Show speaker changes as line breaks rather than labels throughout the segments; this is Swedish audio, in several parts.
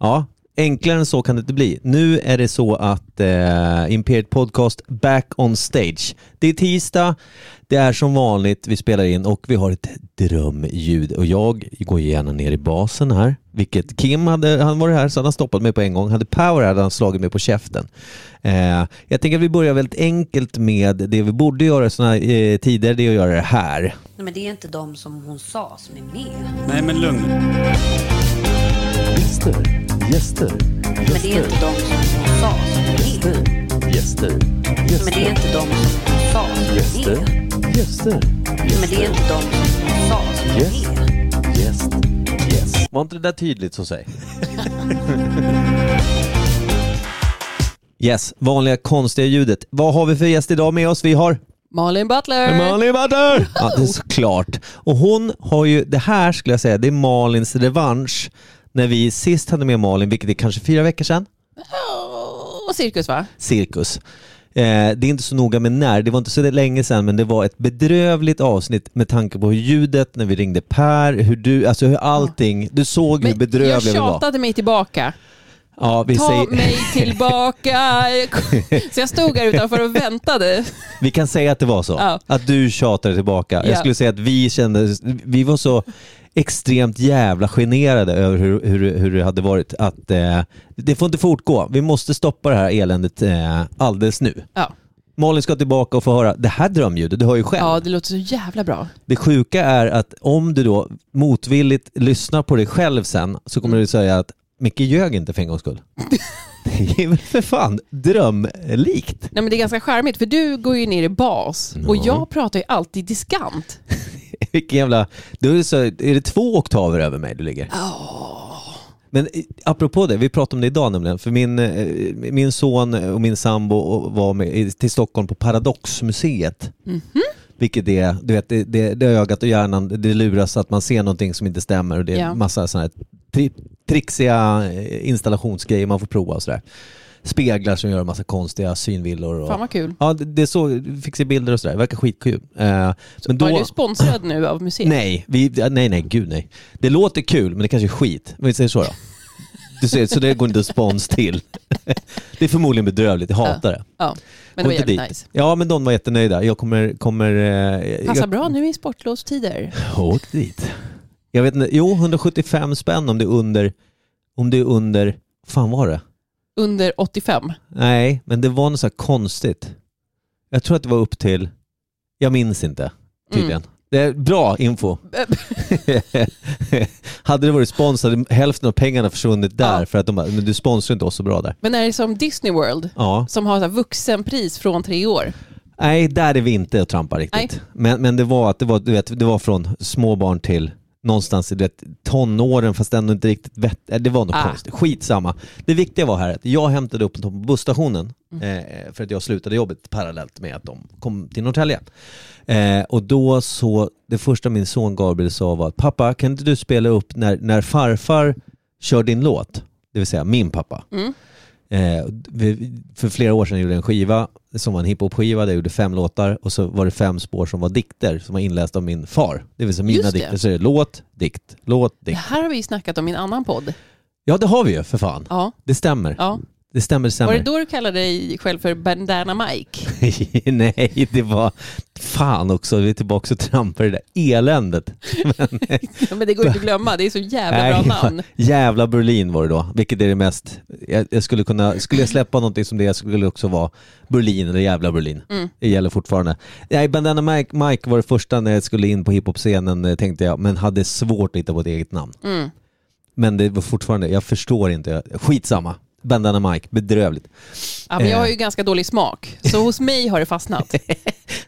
Ja, enklare än så kan det inte bli. Nu är det så att eh, Imperiet Podcast back on stage. Det är tisdag, det är som vanligt, vi spelar in och vi har ett drömljud. Och jag går gärna ner i basen här, vilket Kim hade, han var här så han har stoppat mig på en gång. Hade Power här hade han slagit mig på käften. Eh, jag tänker att vi börjar väldigt enkelt med det vi borde göra i sådana eh, tider, det är att göra det här.
Nej, men det är inte de som hon sa som är med.
Nej men lugn.
Gäster, gäster,
Men det är inte de som hon sa som är med.
gäster,
Men det är inte de som hon sa som är med.
gäster,
Men det är inte de som hon sa som är med.
gäst, gäst.
Var inte det där tydligt så säg? yes, vanliga konstiga ljudet. Vad har vi för gäst idag med oss? Vi har
Malin Butler!
Malin Butter! Ja, det är såklart. Och hon har ju, det här skulle jag säga, det är Malins revansch. När vi sist hade med Malin, vilket är kanske fyra veckor sedan,
Och cirkus va?
cirkus. Eh, det är inte så noga med när, det var inte så länge sedan men det var ett bedrövligt avsnitt med tanke på hur ljudet när vi ringde Per, hur du, alltså hur allting, du såg hur
Men jag
bedrövliga vi var.
tjatade mig tillbaka.
Ja, vi,
Ta
säger,
mig tillbaka! Så jag stod här utanför och väntade.
vi kan säga att det var så.
Ja.
Att du tjatade tillbaka. Jag
Ja.
skulle säga att vi kände, vi var så extremt jävla generade över hur, hur, hur det hade varit. Att eh, det får inte fortgå. Vi måste stoppa det här eländet eh, alldeles nu.
Ja.
Malin ska tillbaka och få höra det här drömljudet, du hör ju själv.
ja, det låter så jävla bra.
Det sjuka är att om du då motvilligt lyssnar på dig själv sen så kommer du säga att Micke ljög inte för en gångs skull. Det är väl för fan drömlikt.
Nej, men det är ganska charmigt för du går ju ner i bas och
Ja.
jag pratar ju alltid diskant.
Vilken jävla... Då är, det så, är det två oktaver över mig du ligger? Men eh, apropå det, vi pratade om det idag nämligen. För min, eh, min son och min sambo och- var med i- till Stockholm på Paradoxmuseet.
Mhm.
Vilket är, du vet, det, det, det är ögat och hjärnan, det luras att man ser någonting som inte stämmer och det är
Ja.
massa sådana här tri, trixiga eh, installationsgrejer man får prova och sådär. Speglar som gör en massa konstiga synvillor. Och,
Fan vad kul.
Ja, det, det är så, fick se bilder och sådär, det verkar skitkul. Eh, men
Då... Är du sponsrad nu av museet?
Nej, vi, ja, nej, nej, gud nej. Det låter kul, men det kanske är skit. Men vi säger så då. Du ser, så det går inte spons till. Det är förmodligen bedrövligt, jag hatar det.
Ja, men
Gå
det var
inte
jävligt
dit.
nice.
Ja, men de var jättenöjda. Jag kommer... kommer eh,
Passar
jag,
bra nu i sportlovstider.
Åk dit. Jag vet inte, jo 175 spänn om det är under... Om det är under... fan var det?
Under 85.
Nej, men det var något så här konstigt. Jag tror att det var upp till... Jag minns inte, tydligen. Det är bra info.
Mm.
hade det varit spons hade hälften av pengarna försvunnit där
Ja.
för att de bara, men du sponsrar inte oss så bra där.
Men är det som Disney World
Ja.
som har så här vuxenpris från tre år?
Nej, där är vi inte och trampar riktigt.
Nej.
Men, men det var att det var, du vet, det var från små barn till någonstans i du vet, tonåren fast ändå inte riktigt vett, äh, Det var något
Ah.
konstigt. Skitsamma. Det viktiga var här att jag hämtade upp dem på busstationen
Mm.
eh, för att jag slutade jobbet parallellt med att de kom till Norrtälje. Eh, och då så, det första min son Gabriel sa var att pappa kan inte du spela upp när, när farfar kör din låt? Det vill säga min pappa.
Mm.
Eh, vi- för flera år sedan gjorde jag en skiva som var en hiphop-skiva där jag gjorde fem låtar och så var det fem spår som var dikter som var inlästa av min far. Det vill säga mina
Just det.
dikter. Så är det låt, dikt, låt,
Det
dikt.
här har vi ju snackat om i en annan podd.
Ja det har vi ju för fan.
Ja,
Det stämmer.
ja.
Det stämmer, det stämmer.
Var det då du kallade dig själv för Bandana Mike?
Nej, det var... Fan också, vi är tillbaka och trampar i det där eländet.
Ja, men det går inte att glömma, det är så jävla bra namn.
jävla Berlin var det då, vilket är det mest... Jag, jag skulle, kunna, skulle jag släppa någonting som det skulle det också vara Berlin eller jävla Berlin.
Mm.
Det gäller fortfarande. Nej, Bandana Mike, Mike var det första när jag skulle in på hiphop-scenen eh, tänkte jag, men hade svårt att hitta på ett eget namn.
Mm.
Men det var fortfarande, jag förstår inte, skitsamma. Bandana Mike, bedrövligt.
Ja, men jag har ju ganska dålig smak, så hos mig har det fastnat.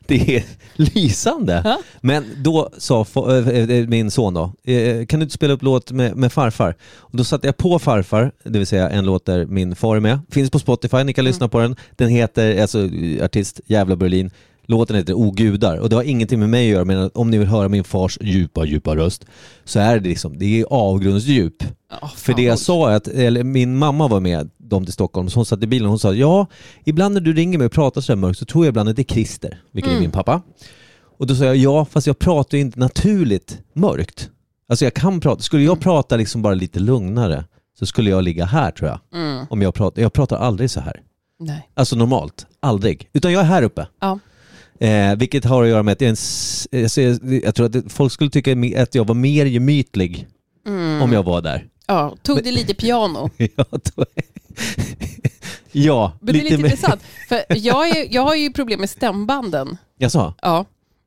Det är lysande.
Ja.
Men då sa fa- eh, eh, min son då, eh, kan du inte spela upp låt med, med farfar? Och då satte jag på farfar, det vill säga en låt där min far är med. Finns på Spotify, ni kan lyssna på den. Den heter, alltså eh, artist, Jävla Berlin. Låten heter O gudar och det har ingenting med mig att göra men om ni vill höra min fars djupa, djupa röst så är det liksom, det är avgrundsdjup.
Ja,
För
fan
det jag
vad-
sa är att, eller min mamma var med dem till Stockholm, så hon satt i bilen och hon sa ja, ibland när du ringer mig och pratar sådär mörkt så tror jag ibland att det är Christer, vilket
Mm.
är min pappa. Och då sa jag ja, fast jag pratar ju
Mm.
inte naturligt mörkt. Alltså jag kan prata, skulle jag prata liksom bara lite lugnare så skulle jag ligga här tror jag.
Mm.
Om jag, pratar, jag pratar aldrig så här.
Nej.
Alltså normalt, aldrig. Utan jag är här uppe.
Ja.
Eh, vilket har att göra med att jag, är en, s- jag, ser- jag tror att det- folk skulle tycka me- att jag var mer gemytlig
Mm.
om jag var där.
ja. Tog det lite piano.
ja, då- ja,
Men det är lite
mer-
intressant. För jag, är, jag har ju problem med stämbanden.
Jag sa,
Ja.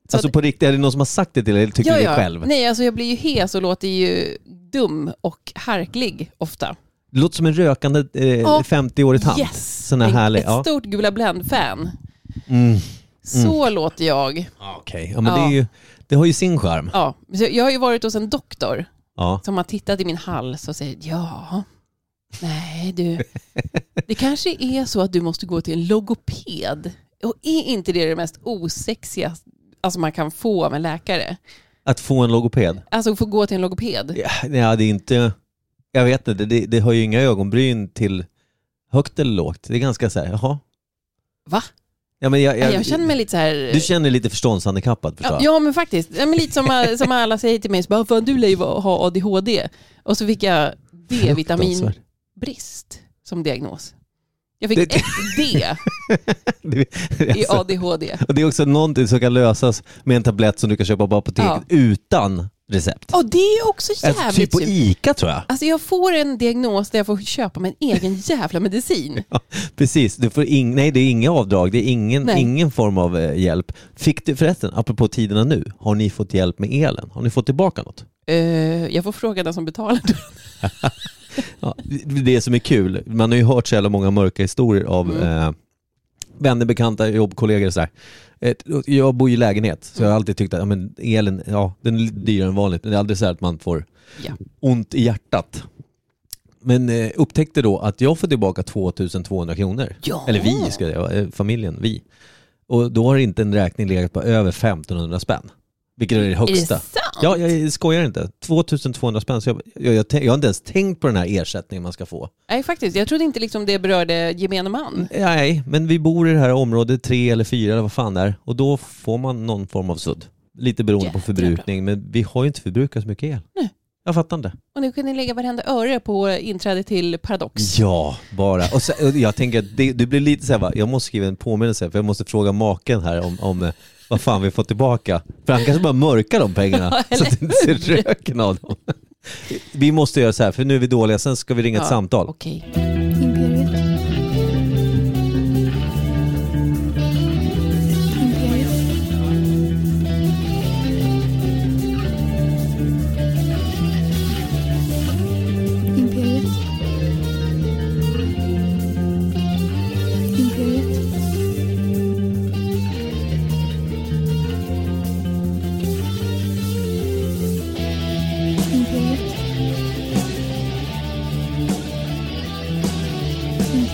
Så
alltså
att-
på riktigt, är det någon som har sagt det till dig eller tycker
ja,
du det
ja.
själv?
Nej, alltså jag blir ju hes och låter ju dum och harklig ofta.
Det låter som en rökande eh,
Ja.
50-årig tant.
Yes!
Sån här
En-
härlig,
Ett
ja.
stort Gula Blend-fan.
Mm.
Så låter jag.
Ah, Okej, ja, men
Ja.
Det, är ju, det har ju sin charm.
Ja. Så jag har ju varit hos en doktor
Ja.
som har tittat i min hals och säger ja, nej du, det kanske är så att du måste gå till en logoped. Och är inte det det mest osexiga alltså man kan få av en läkare?
Att få en logoped.
Alltså få gå till en logoped.
Ja, nej, det är inte... Jag vet inte, det, det har ju inga ögonbryn till högt eller lågt. Det är ganska så här, jaha.
Va?
Ja, men jag,
Jag, jag känner mig lite så här...
Du känner dig lite förståndshandikappad förstår
Ja,
jag.
ja men faktiskt, ja, men lite som, som alla säger till mig, så bara, Fan, du lär ju vara- ha ADHD. Och så fick jag D-vitaminbrist
Fruktansvärt.
som diagnos. Jag fick
Det-
ett D
Det,
i
alltså,
ADHD.
och det är också någonting som kan lösas med en tablett som du kan köpa på apoteket
Ja.
utan recept.
Och det är också
Alltså,
jävligt
typ på
synd.
ICA tror jag.
Alltså jag får en diagnos där jag får köpa min egen jävla medicin.
Precis, du får ing, nej det är inga avdrag, det är ingen,
Nej.
ingen form av eh, hjälp. Fick du, förresten, apropå tiderna nu, har ni fått hjälp med elen? Har ni fått tillbaka något?
Eh, jag får fråga den som betalar.
Ja, det det som är kul, man har ju hört så jävla många mörka historier av eh, vänner, bekanta, jobbkollegor och sådär. Ett- Jag bor ju i lägenhet, så jag har alltid tyckt att ja, men elen, ja den är lite dyrare än vanligt, men det är aldrig så här att man får
Ja.
ont i hjärtat. Men eh, upptäckte då att jag får tillbaka 2200 kronor.
Ja.
Eller vi, ska jag, eh, familjen, vi. Och då har inte en räkning legat på över 1500 spänn. Vilket är det
Är det
högsta.
sant?
Ja, jag skojar inte. 2200 spänn. Så jag, jag, jag, tän- jag har inte ens tänkt på den här ersättningen man ska få.
Nej faktiskt, jag trodde inte liksom det berörde gemene
Mm.
man.
Nej, men vi bor i det här området, tre eller fyra eller vad fan det är. Och då får man någon form av sudd. Lite beroende på
Jädra
förbrukning, men vi har ju inte förbrukat så mycket el.
Nej.
Jag fattar inte.
Och nu kunde ni lägga varenda öre på inträde till Paradox.
Ja, bara. Och så, och jag tänker att det, det blir lite så här, va, jag måste skriva en påminnelse för jag måste fråga maken här om, om eh, vad fan vi får tillbaka. För han kanske bara mörkar de pengarna så att du inte ser röken av dem. Vi måste göra så här, för nu är vi dåliga, sen ska vi ringa ett
Ja,
samtal.
Okej.
Imperiet. Imperiet. Imperiet. Imperiet. Imperiet.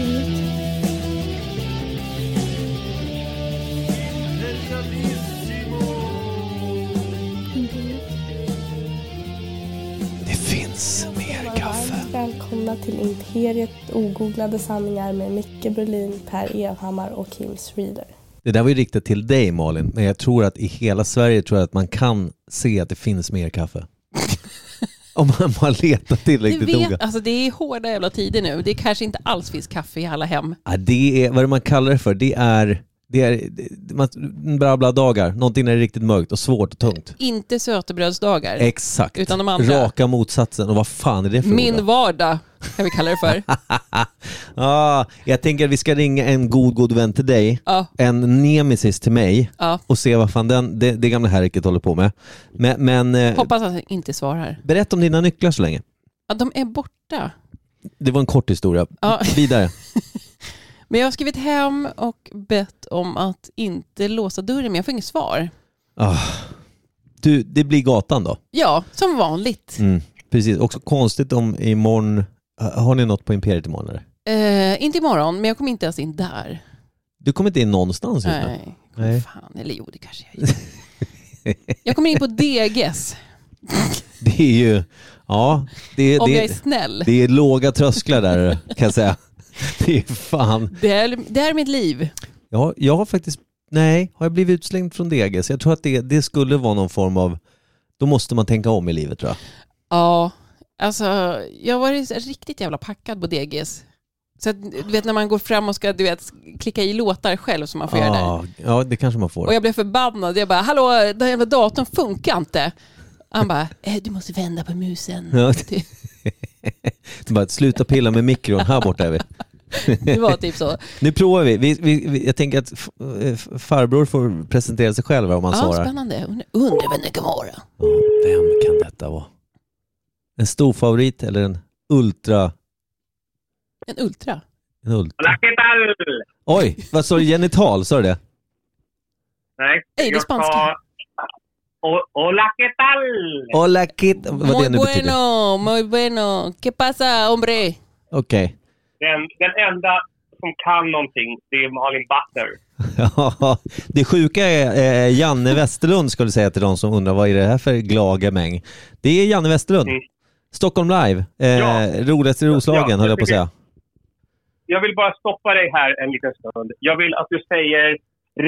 Imperiet. Imperiet.
Det finns mer kaffe.
Välkomna till Imperiet ogooglade sanningar med Micke Berlin, Per Evhammar och Kim Schreeder.
Det där var ju riktat till dig Malin, men jag tror att i hela Sverige tror jag att man kan se att det finns mer kaffe. Om man bara letar
Du
tillräckligt noga.
vet, alltså det är hårda jävla tider nu. Det kanske inte alls finns kaffe i alla hem.
Ja, det är, vad är det man kallar det för? Det är, det är det- man- bla bla dagar, någonting när det är riktigt mörkt och svårt och tungt.
Inte sötebrödsdagar.
Exakt.
Utan de andra.
Raka motsatsen. Och vad fan är det för
Min
ord?
vardag kan vi kalla det för.
ah, Jag tänker att vi ska ringa en god god vän till dig,
Ja,
en nemesis till mig
ja.
och se vad fan den, det, det gamla härket håller på med. Men, men eh,
Hoppas att han inte svarar.
berätta om dina nycklar så länge.
Ja, de är borta.
Det var en kort historia.
Ja.
Vidare.
Men jag har skrivit hem och bett om att inte låsa dörren, men jag får inget svar.
Du, det blir gatan då.
Ja, som vanligt.
Mm. Precis. Också konstigt om imorgon, har ni något på Imperiet imorgon eller?
Eh, inte imorgon, men jag kommer inte ens in där.
Du kommer inte in någonstans just nu.
Nej,
Nej.
fan. Eller jo, det kanske jag gör. Jag kommer in på DGs,
Det är ju, ja, det,
om jag
det,
är snäll.
det är låga trösklar där kan jag säga. Det är fan.
Det är, det är mitt liv.
Ja, jag har faktiskt, nej, har jag blivit utslängd från DG? Så jag tror att det, det skulle vara någon form av, då måste man tänka om i livet tror jag.
Ja, Alltså, jag var riktigt jävla packad på DGs. Så att, du vet när man går fram och ska du vet, klicka i låtar själv som man får göra där.
Ja, ja, det kanske man får.
Och jag blev förbannad. Jag bara, hallå, den här jävla datorn funkar inte. Han bara, eh, du måste vända på musen.
Ja. Bara, sluta pilla med mikron, här borta är vi.
Det var typ så.
Nu provar vi. vi, vi, vi jag tänker att f- eh, f- farbror får presentera sig själv om han
Ja,
svarar.
spännande. Und- Undrar vem det kan vara.
Ja, Vem kan detta vara? En stor favorit eller en ultra?
En ultra.
En ultra.
Hola, ¿qué tal?
Oj, vad sa du? Genital, sa du det?
Nej,
Hej, det är
jag
spanska.
sa- O- Hola, ¿qué tal?
Hola kid. Vad
Muy
det nu betyder.
bueno, muy bueno. ¿Qué pasa, hombre?
Okej.
Den, den enda som kan någonting, det är Malin Butler.
Ja, det sjuka är eh, Janne Westerlund skulle säga till de som undrar vad är det här för glagemäng. Det är Janne Westerlund.
Mm.
Stockholm Live. Eh,
Ja.
Roligast i Roslagen
Ja,
höll jag på att
tycker-
säga.
Jag vill bara stoppa dig här en liten stund. Jag vill att du säger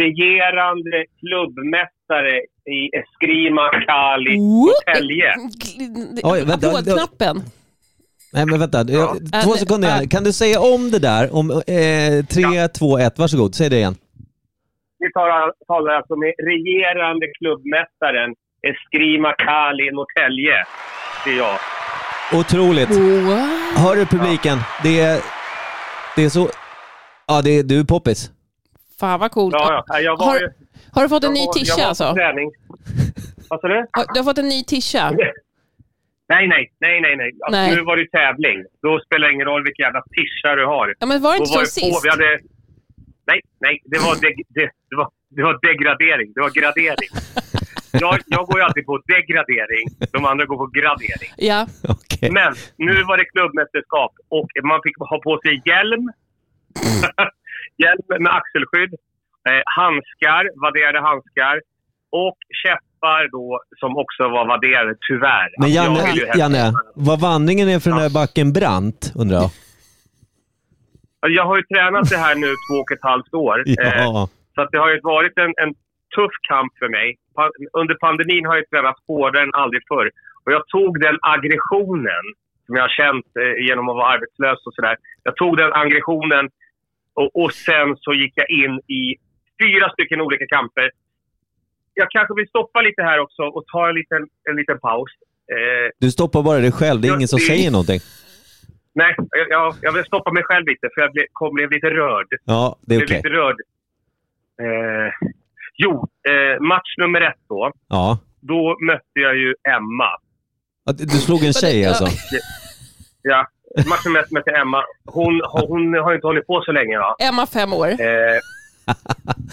regerande klubbmästare i Eskrima Kali Norrtälje.
Oj, vänta,
Applådknappen.
Nej men vänta,
Ja.
Jag- två
Äh,
sekunder
äh.
Janne. Kan du säga om det där? Om, eh, tre, två, ett, varsågod. Säg det igen.
Vi tar- talar alltså med regerande klubbmästaren Eskrima Kali Norrtälje. Det är jag.
Otroligt.
Wow.
Hör du publiken? Det, är, det är så... Ja, det är, du är poppis.
Fan vad coolt.
Ja, ja. Jag var,
Har-
ju-
Har du fått en
jag
ny
var- jag
tisha
var på
alltså?
Träning. Vad sa du?
Har- Du har fått en ny tisha.
Nej, nej, nej, nej. nej. Alltså,
Nej.
Nu var det ju tävling. Då spelar det ingen roll vilka jävla tischer du har.
Ja, men var det
Då
inte så
var det på,
sist?
vi hade... Nej, nej, det var, deg, det, det, var, det var degradering. Det var gradering. Jag, jag går ju alltid på degradering. De andra går på gradering.
Ja.
Okej.
Men nu var det klubbmästerskap och man fick ha på sig hjälm. hjälm med axelskydd. Eh, handskar, vadderade handskar. Och käppar då som också var vadderade, tyvärr.
Men
Alltså, jag
Janne,
vill ju helst-
Janne, vad vandringen är för den där backen brant, undrar jag.
Alltså, Jag har ju tränat det här nu två och ett halvt år. Eh,
Ja.
Så att det har ju varit en, en tuff kamp för mig. Pa- under pandemin har jag tränat hårdare än aldrig förr. Och jag tog den aggressionen som jag har känt eh, genom att vara arbetslös och sådär. Jag tog den aggressionen och, och sen så gick jag in i fyra stycken olika kamper. Jag kanske vill stoppa lite här också och ta en liten, en liten paus. Eh,
Du stoppar bara dig själv, det är
Ja,
ingen som
det-
säger någonting.
nej, jag- jag, jag vill stoppa mig själv lite för jag blev, kom, blev lite rörd.
Ja, det är
Blev
okej.
lite rörd. Eh, jo, eh, match nummer ett då.
Ja.
då mötte jag ju Emma.
Att Du slog en tjej
Ja.
alltså?
Ja, matchen mest mötte Emma. Hon, hon, hon har ju inte hållit på så länge va?
Emma fem år.
Eh,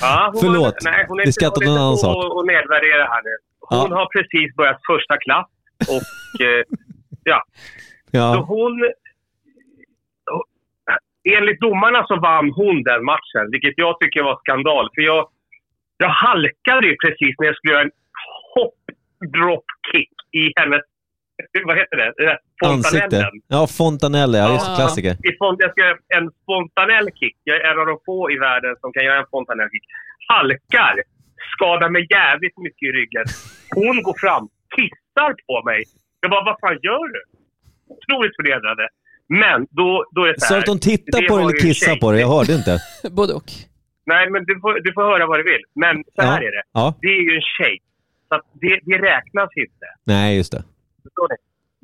ja, hon
Förlåt.
Var, nej, hon är
Det ska inte
hon är
någon annan
på
sak.
Och nedvärdera här nu. Hon
Ja.
har precis börjat första klass och eh, så
Ja.
hon... Enligt domarna så vann hon den matchen, vilket jag tycker var skandal. För jag, jag halkade ju precis när jag skulle göra en hopp-drop-kick i hennes... Vad heter det? Den där
Ansikte.
Fontanellen.
Ja, Fontanelle, ja just
Ja.
klassiker.
I fon- Jag ska göra en fontanell-kick. Jag är en av de få i världen som kan göra en fontanell-kick. Halkar. Skadar mig jävligt mycket i ryggen. Hon går fram, kissar på mig. Jag bara, vad fan gör du? Otroligt förnedrade. Men då, då är det så
Sa du
här.
att de tittar
Det
på dig
var
eller
ju
kissar
tjej.
på dig? Jag hörde inte.
Både och.
Nej, men du får, du får höra vad du vill. Men så här
Ja.
är det.
Ja,
Det är ju en tjej. Så att det, det räknas inte.
nej just det.
Förstår ni?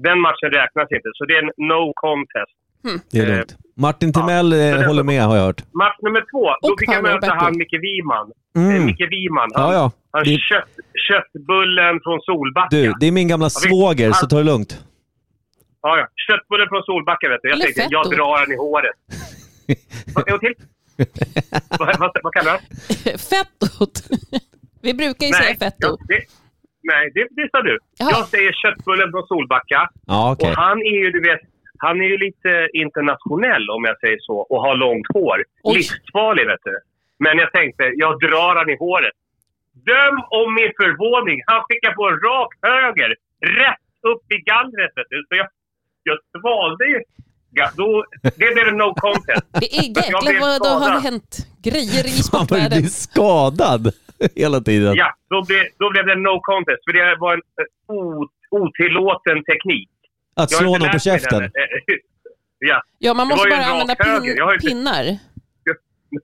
Den matchen räknas inte. Så det är en no contest.
Det är
Eh,
lugnt. Martin Timell eh, håller med har jag hört.
Match nummer två, då
Och
fick jag
Paolo
möta
Roberto.
han Micke Wiman. Eh,
Mm.
Micke Wiman. Han,
Ja, ja.
han
Det-
kött, köttbullen från Solbacka.
Du, det är min gamla svåger, så ta det lugnt.
Ja, ja. Köttbullen från Solbacka vet du. Jag
Eller
tänkte,
fett
jag
då.
drar han i håret. Va- En gång till. vad, vad, vad kallar du det?
Fettot. Vi brukar ju säga fetto.
jag- det, nej det, det sa du.
Jaha.
Jag säger köttbullen från Solbacka.
Ja, okej.
Och han är ju, du vet, han är ju lite internationell om jag säger så och har långt hår.
Oj.
Livsfarlig vet du. Men jag tänkte, jag drar han i håret. Döm om min förvåning. Han skickar på en rak höger. Rätt upp i gallret vet du. Så jag, jag valde ju. Ja, då, det blev en no contest.
Det är
Jag blev
jäklar vad det har
skadad.
hänt grejer i
Fan vad du
sportvärlden.
blir skadad hela tiden.
Ja, då blev, då blev det en no contest. För det var en eh, o- otillåten teknik.
Att
Jag har
slå
inte
någon på
lärt mig
käften?
den än. Ja,
Ja, man
Det
måste
var ju
bara
en rak
använda
höger.
pin,
Jag har ju inte-
pinnar.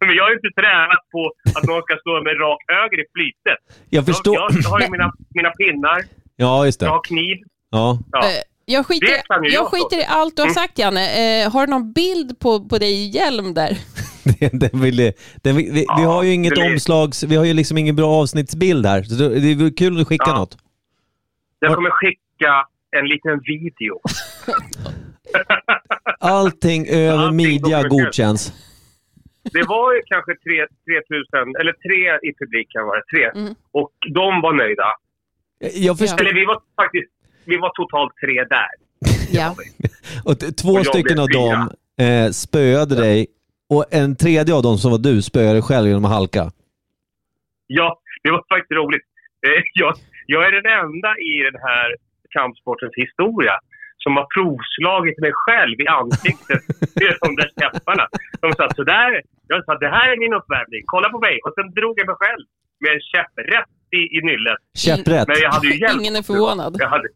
men jag har ju inte tränat på att någon ska slå mig rak höger i flytet.
Jag förstår.
Jag, jag har ju mina, mina pinnar,
Ja, just
jag
det.
har kniv.
Ja.
Ja.
Eh, Jag skiter,
Det kan ju Mm.
jag
jag
skiter i allt du har sagt Janne. Eh, har du någon bild på, på dig i hjälm där?
Den vill, den vill, vi, vi
Ja,
har ju inget
det blir-
omslags... Vi har ju liksom ingen bra avsnittsbild här. Så det det vore kul att skicka
Ja.
något.
Jag kommer skicka en liten video.
Allting över
Allting
midja
dokumenterat.
godkänns.
Det var ju kanske 3 3000, eller tre i publiken var det, tre.
Mm.
Och de var nöjda.
Jag förstår.
Eller vi var faktiskt, vi var totalt tre där.
Ja.
Och t- två
Och jag
stycken
blev
av
fyra.
dem eh, spöade dig och en tredje av dem som var du spöade dig själv genom att halka.
Mm. Ja, det var faktiskt roligt. Eh, Jag, jag är den enda i den här kampsportens historia som har provslagit mig själv i ansiktet med de där käpparna. De sa sådär. Jag sa det här är min uppvärmning, kolla på mig. Och sen drog jag mig själv med en käpp rätt i, i nyllet.
Käpprätt.
Men jag hade ju hjälp.
Ingen är förvånad.
Jag hade,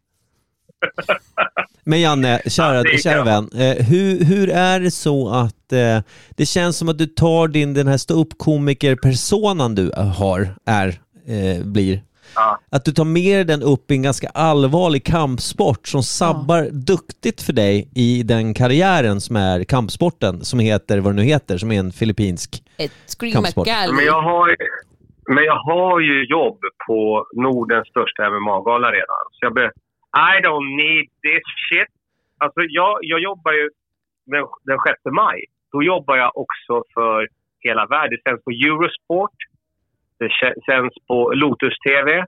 Men Janne,
Ja, det
kära,
gick
kära
jag.
vän. Eh, hur, hur är det så att eh, det känns som att du tar din den här ståuppkomiker-personan du har, är, eh, blir.
Ja.
Att du tar med den upp i en ganska allvarlig kampsport som sabbar duktigt för dig i den karriären som är kampsporten, som heter vad det nu heter, som är en filippinsk.
Ett scream
Kampsport.
men, jag har, ju- men jag har ju jobb på Nordens största MMA-gala redan. Så jag be, I don't need this shit. Alltså jag, jag jobbar ju den, den 6 maj. Då jobbar jag också för hela världen. Det sänds på Eurosport. Det kä- sänds på Lotus TV.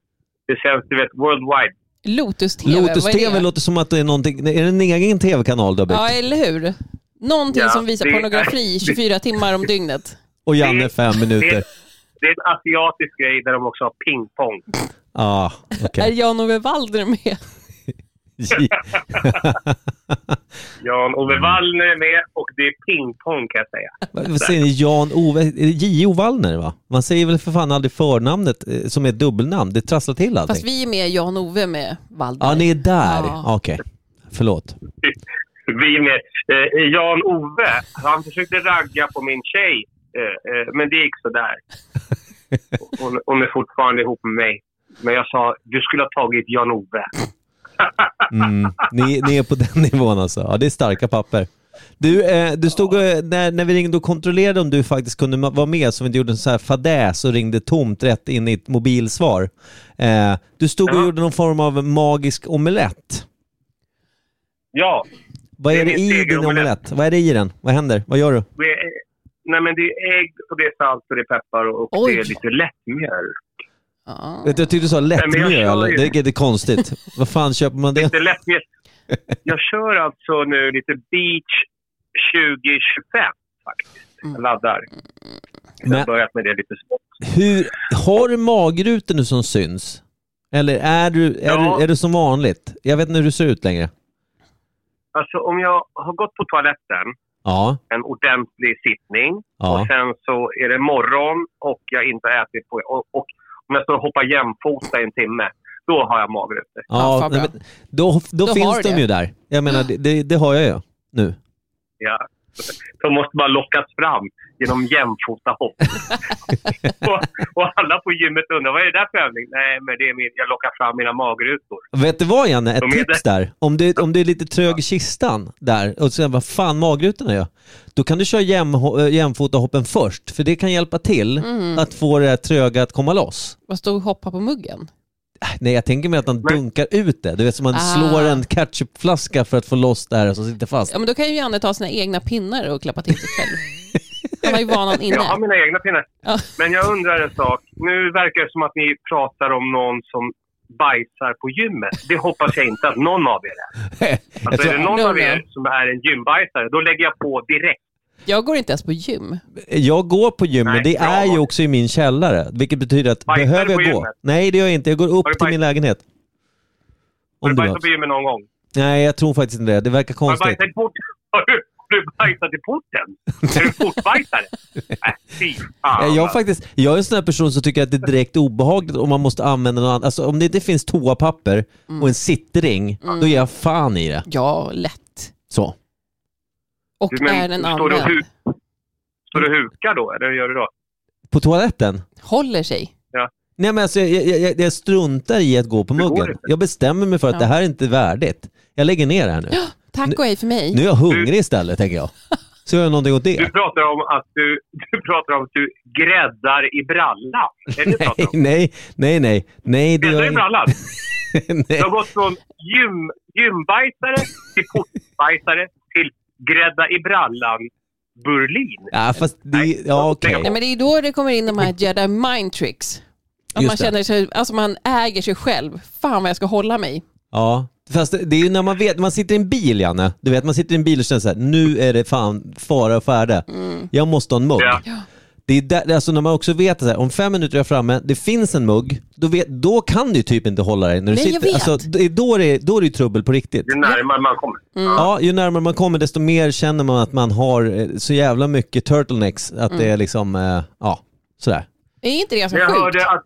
Det sänds, du vet, worldwide.
Lotus TV,
Lotus
vad är
TV
det?
låter som att det är någonting, är det en egen TV-kanal du har byggt?
Ja, eller hur? Någonting
Ja,
som visar
det-
pornografi 24 timmar om dygnet.
Och Janne fem minuter.
Det, det är en asiatisk grej där de också har pingpong.
Ja,
Är
okej.
Jan-Ove Waldner med?
Jan-Ove Wallner är med och det är pingpong kan jag säga.
Vad vad säger ni? Jan-Ove? är det J.O. Wallner va? Man säger väl för fan aldrig förnamnet eh, som är ett dubbelnamn? Det trasslar till
Fast
allting.
vi är med Jan-Ove med Waldner.
Ja, ni är där. Ah,
Ja.
Okej. Förlåt.
Vi med. Eh, Jan-Ove, han försökte ragga på min tjej, eh, eh, men det gick sådär. Hon, hon är fortfarande ihop med mig. Men jag sa, du skulle ha tagit Jan-Ove.
Mm. Ni, ni är på den nivån alltså. Ja, det är starka papper. Du, eh, du stod och, eh, när, när vi ringde och kontrollerade om du faktiskt kunde ma- vara med så vi inte gjorde en sån här fadäs och ringde tomt rätt in i ett mobilsvar. Eh, du stod och
Ja.
gjorde någon form av magisk omelett.
Ja,
Vad
Det
är
är
det
min
i din
segeromelett.
omelett? Vad är det i den? Vad händer? Vad gör du?
det är, nej men det är ägg och det är salt och det är peppar och, och
Oj.
det är lite lättmjöl.
Ja.
Vet du, Jag tyckte du sa
Nej, men jag
lättmjöl.
kör ju.
Det är lite konstigt. Vad fan köper man det?
Lite lättmjöl. Jag kör alltså nu lite beach 2025 faktiskt. Jag laddar. Jag
Mm. Men
har börjat med det lite smått.
hur, har du magrutor nu som syns? Eller är du, är,
Ja.
du, är du som vanligt? Jag vet inte hur du ser ut längre.
Alltså om jag har gått på toaletten
Ja,
en ordentlig sittning.
Ja.
Och sen så är det morgon och jag inte har ätit på... Och, och om jag står och hoppar jämfota i en timme, då har jag magrutor.
Ja,
ja,
fan
nej,
bra.
men då, då,
Då
finns
har
de
det.
ju där. Jag menar, det, det, det har jag ju nu.
Ja. De måste bara lockas fram genom jämfota hopp. och, och alla på gymmet undrar, vad är det där för övning? Nej, men det är min, jag lockar fram mina magrutor.
Vet du vad Janne, ett
De är
tips där. Om du, om du är lite trög i kistan där och sen vad fan magrutorna gör. Då kan du köra jäm, jämfotahoppen först, för det kan hjälpa till att få det här tröga att komma loss.
Vad stod hoppa på muggen?
Nej, jag tänker mig att han
Men-
dunkar ut det. Du vet, som man
Ah.
slår en ketchupflaska för att få loss det här som sitter fast.
Ja, men då kan ju Janne ta sina egna pinnar och klappa till sig själv. Han har ju vanan
Jag har
inne.
mina egna pinnar.
Ja.
Men jag undrar en sak. Nu verkar det som att ni pratar om någon som bajsar på gymmet. Det hoppas jag inte att någon av er är.
Jag
Alltså är det
tror,
någon
No,
av er
no.
som är en gymbajsare, då lägger jag på direkt.
Jag går inte ens på gym.
jag går på gym, men
Nej,
det
bra
är ju
val.
också i min källare. Vilket betyder att
Bajsar du
behöver
på
jag gå?
gymmet?
Nej, det gör jag inte. Jag går upp
Har du
till min
bajs-
lägenhet.
Har du
Om det
bajsat
behövs.
på gymmet någon gång?
Nej, jag tror faktiskt inte det. Det verkar
Har du
konstigt.
bajsat i porten? Har du, har du bajsat i porten? Är du portbajsare? Nej, Fy fan. alltså.
Nej, Eh, Jag, är faktiskt, jag är en sån här person som tycker att det är direkt obehagligt om man måste använda någon annan. Alltså om det inte finns toapapper och en sittring, då ger jag fan i det.
Ja, lätt.
Så.
Och
Du, men,
är den
står du och
använd.
hu- Står du och hukar då, eller hur gör du då?
På toaletten?
Håller sig.
Nej men alltså, jag, jag, jag, jag struntar i att gå på
Det går
muggen.
inte.
Jag bestämmer mig för att
Ja.
det här är inte värdigt. Jag lägger ner det här nu.
Tack och hej för mig.
Nu är jag hungrig istället tänker jag. Så gör jag någonting åt
Du
det.
pratar om att du, du, pratar om att du gräddar i brallan. Är det
Nej,
pratar om?
nej, nej, nej. Nej, det gör
Gräddar
jag
i brallan?
inte.
Du
Nej.
har gått från gym, gymbajsare till portbajsare till grädda i brallan Berlin.
Ja, fast det,
Nej.
ja okej.
Nej, men det är då det kommer in de här Jedi mind tricks. Att
Just
man
det.
känner sig, alltså man äger sig själv. Fan vad jag ska hålla mig.
Ja, fast det det är ju när man vet, man sitter i en bil Janne, du vet man sitter i en bil och känner så här, nu är det fan fara och färde. Jag måste ha en mugg.
Mm. Ja.
Det är där, det är alltså när man också vet att om fem minuter är jag framme, det finns en mugg, då, vet, då kan du typ inte hålla dig. När du
Nej, jag
sitter.
vet.
Alltså, det är då, det, är- då är det ju trubbel på riktigt.
Ju närmare man kommer.
Ja, ju närmare man kommer desto mer känner man att man har eh, så jävla mycket turtlenecks att
Mm.
det är liksom, eh, ja, sådär.
Är inte det ganska
Men jag
sjukt?
hörde att...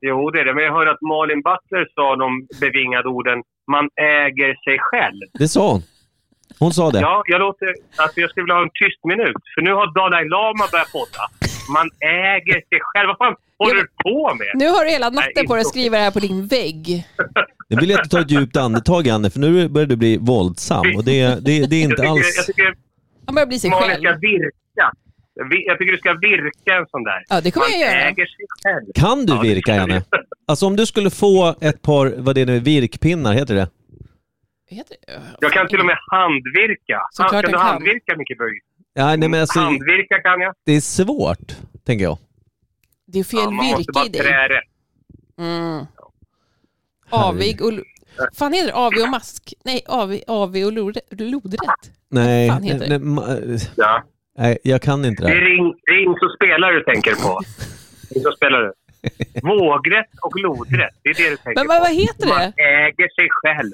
Jo, det är det. Men jag hörde att Malin Butler sa de bevingade orden man äger sig själv.
Det sa hon. Hon sa det.
Ja, jag låter... Alltså jag skulle vilja ha en tyst minut. För nu har Dalai Lama börjat podda. Man äger sig själv. Vad fan håller
Ja,
du på med?
Nu har du hela natten
Nej,
på dig att
inte.
skriva det här på din vägg.
Nu vill jag att du tar ett djupt andetag Janne, för nu börjar du bli våldsam och det, det, det är
Jag
inte
tycker,
alls...
jag tycker
Han börjar bli sig
Malin
själv.
ska virka. Vi- Jag tycker du ska virka en sån där.
Ja, det kommer
man
jag göra.
äger sig själv.
Kan du
Ja, det
virka
kan jag
Janne? Alltså om du skulle få ett par, vad det nu är, virkpinnar, heter det
Heter det?
Jag kan till och med handvirka.
Såklart
kan
jag
du
kan.
handvirka, Micke Böj?
ja, nej, men alltså,
Handvirka kan jag.
Det är svårt, tänker jag.
Det är fel
Ja, man måste
virke
bara
i dig.
trä rätt.
Mm. Avig och... Fan heter det avig och mask? Nej, avig, avig och lodrä- lodrätt.
Nej,
fan heter
nej,
det?
ma-
Ja.
nej, jag kan inte det
Det är
här.
ring, ring så spelar du tänker på. Ring så spelar du. Vågrätt och lodrätt, det är det du tänker
Men vad,
på.
vad heter det?
Man äger sig själv.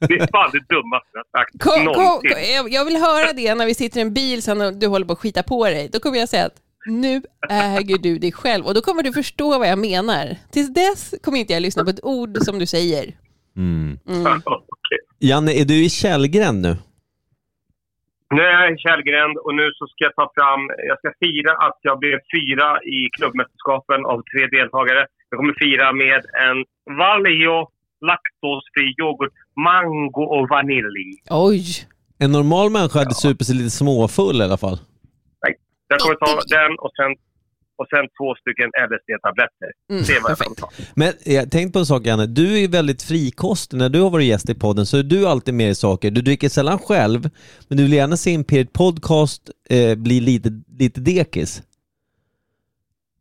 det är fan det dummaste jag har sagt
Kom, kom, kom,
någonsin.
jag- jag vill höra det när vi sitter i en bil sen och du håller på att skita på dig. Då kommer jag säga att nu äger du dig själv och då kommer du förstå vad jag menar. Tills dess kommer inte jag lyssna på ett ord som du säger.
Mm.
Okej.
Janne, är du i Källgren nu?
Nu är jag i Källgränd och nu så ska jag ta fram, jag ska fira att jag blev fyra i klubbmästerskapen av tre deltagare. Jag kommer fira med en Valio laktosfri yoghurt, mango och vanilj.
Oj,
En normal människa hade supit sig lite småfull i alla fall.
Jag kommer ta den och sen, och sen två stycken LSD-tabletter.
Mm,
det är vad jag
perfekt.
kommer ta.
Men jag tänkte på en sak Janne, du är ju väldigt frikostig. När du har varit gäst i podden så är du alltid med i saker. Du dricker sällan själv, men du vill gärna se Imperiet Podcast eh, bli lite, lite dekis.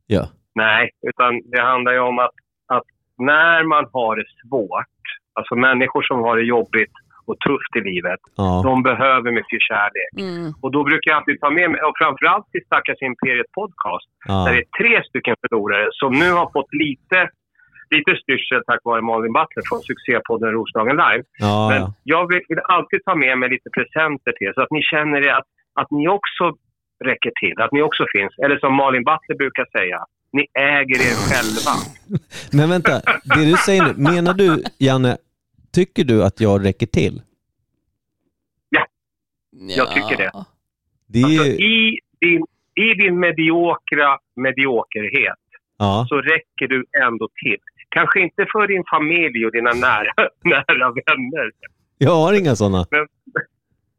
Ja.
Nej, utan det handlar ju om att, att när man har det svårt, alltså människor som har det jobbigt och tufft i livet,
ja.
de behöver mycket kärlek.
Mm.
Och då brukar jag alltid ta med mig, och framförallt till stackars Imperiet Podcast, där
ja.
det är tre stycken förlorare som nu har fått lite, lite styrsel tack vare Malin Butler från succépodden Roslagen Live.
ja,
Men
ja.
jag vill, vill alltid ta med mig lite presenter till er så att ni känner det att, att ni också räcker till, att ni också finns. Eller som Malin Butler brukar säga, ni äger er själva.
Men vänta, det du säger nu, menar du Janne, tycker du att jag räcker till?
Jag tycker det.
Ja.
Det är
Alltså,
ju,
i, din, I din mediokra mediokerhet
ja.
så räcker du ändå till. Kanske inte för din familj och dina nära, nära vänner.
Jag har inga sådana.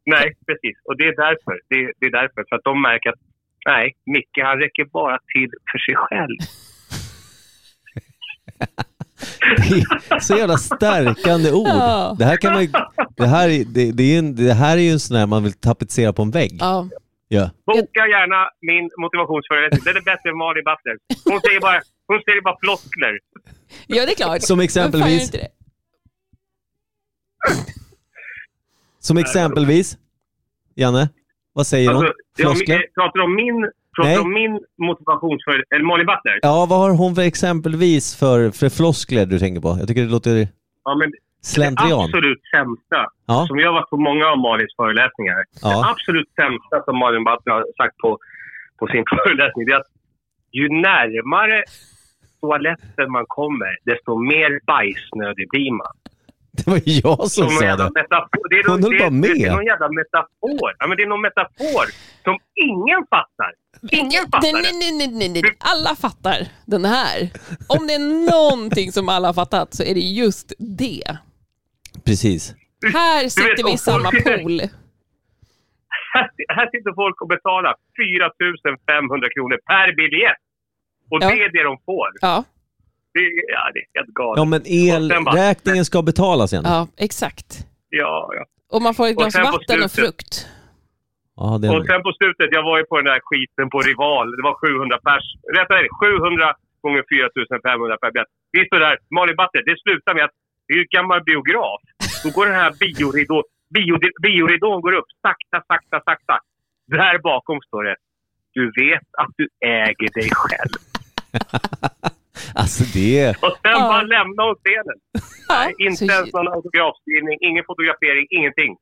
Nej, precis. Och det är därför. Det, det är därför. För att de märker att nej, Micke han räcker bara till för sig själv.
Så jävla stärkande ord.
Ja.
Det här kan man ju, det här, är- det, det, är en, det här är ju en sån här man vill tapetsera på en vägg.
Ja.
Ja.
Boka gärna min motivationsföreläsning. Den är bättre än Malin Butler. Hon säger bara, hon säger bara floskler.
ja, det är klart.
Som
Varför är
exempelvis,
inte det?
som exempelvis, Janne, vad säger hon?
Alltså, det är om-
Floskler?
eh, pratar om min, pratar
Nej.
om min motivationsföreläsning, eller Malin Butler.
Ja, vad har hon för exempelvis för, för floskler du tänker på? Jag tycker det låter...
Ja, men Det
Slentrian.
absolut sämsta,
Ja,
som jag har varit på många av Malins föreläsningar, det
ja,
absolut sämsta som Malin Batra har sagt på, på sin föreläsning, det är att ju närmare toaletten man kommer, desto mer bajsnödig blir man.
det var ju jag som
Som någon
sa
jävla
det.
metafor. Det är
Hon
någon-
höll
det-
bara med.
Det är någon jävla metafor. Ja, men det är någon metafor som ingen fattar. Ingen
Nej,
fattar
nej,
det.
nej, nej, nej, nej. Alla fattar den här. Om det är någonting som alla har fattat så är det just det.
Precis.
Här sitter vi i
och folk
samma
sitter-
pool.
Här, här sitter folk och betalar 4 500 kronor per biljett. Och
Ja.
det är det de får.
Ja,
Det, är- ja, det är helt galet.
Ja men elräkningen ska betalas igen.
ja exakt.
Ja, ja.
Och man får ett
Och
glas
sen på
vatten och
slutet.
frukt.
Ja, det
Och sen på slutet, jag var ju på den där skiten på Rival. Det var 700 pers. Rättare sagt, 700 gånger 4500 per biljett. Vi står där, Malin Batter, det slutar med att det är ju en gammal biograf. Då går den här bioridån, bio, bioridån går upp sakta, sakta, sakta. Där bakom står det, du vet att du äger dig själv.
Alltså det...
Och sen
Ja.
bara lämna oss scenen.
Ja,
Inte
så-
ens någon autografskrivning, ingen fotografering, ingenting.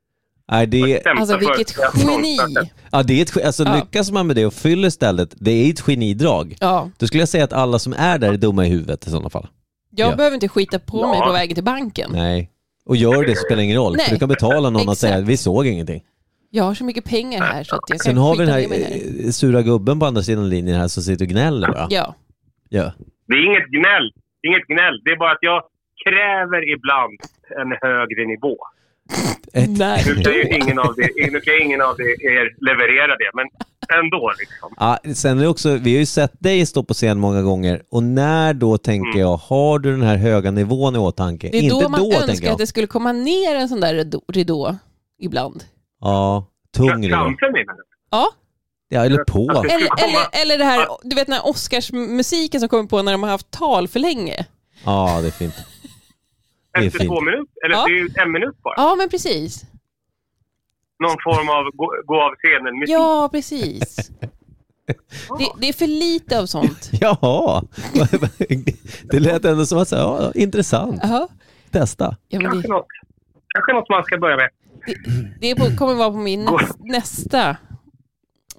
Nej, det,
Sämsta
Alltså vilket
förutsättningar
geni.
någonstans.
ja, det är ett, alltså,
Ja.
lyckas man med det och fyller stället, det är ett genidrag.
Ja,
Då skulle jag säga att alla som är där är dumma i huvudet i sådana fall.
jag
Ja.
behöver inte skita på mig
Ja.
på vägen till banken.
Nej. Och gör det spelar ingen roll,
Nej.
för du kan betala någon och
Exakt.
säga vi såg ingenting.
Jag har så mycket pengar här så att jag
Sen
kan
har vi
skita
den
ner
här
mig här.
eh, sura gubben på andra sidan linjen här som sitter och gnäller va?
Ja,
Ja.
Det är inget gnäll. Det är inget gnäll. Det är bara att jag kräver ibland en högre nivå.
Ett.
nej
Nu kan ju
då.
ingen av, det, nu kan ju ingen av det er leverera det, men ändå liksom.
Ja, sen är det också, vi har ju sett dig stå på scen många gånger och när då tänker
Mm.
jag, har du den här höga nivån i åtanke?
Det är
Inte
då man
tänker
önskar att
jag.
det skulle komma ner en sån där ridå, ridå ibland.
Ja, tung ridå.
Framför mig. menar
Ja,
Ja, eller på.
Det skulle
eller,
komma-
eller, eller det här, du vet den här Oscarsmusiken som kommer på när de har haft tal för länge.
Ja, det är fint. Det
jag.
är
Efter
fint.
två minuter, eller
Ja.
det är ju en minut bara.
Ja, men precis.
Någon form av gå, gå av scenen musik.
Ja, precis. Det, det är för lite av sånt.
Jaha, det lät ändå som att säga, ja, intressant,
Jaha.
testa.
Ja, men
Kanske,
det
något, kanske något man ska börja med.
det är på, kommer vara på min näs, nästa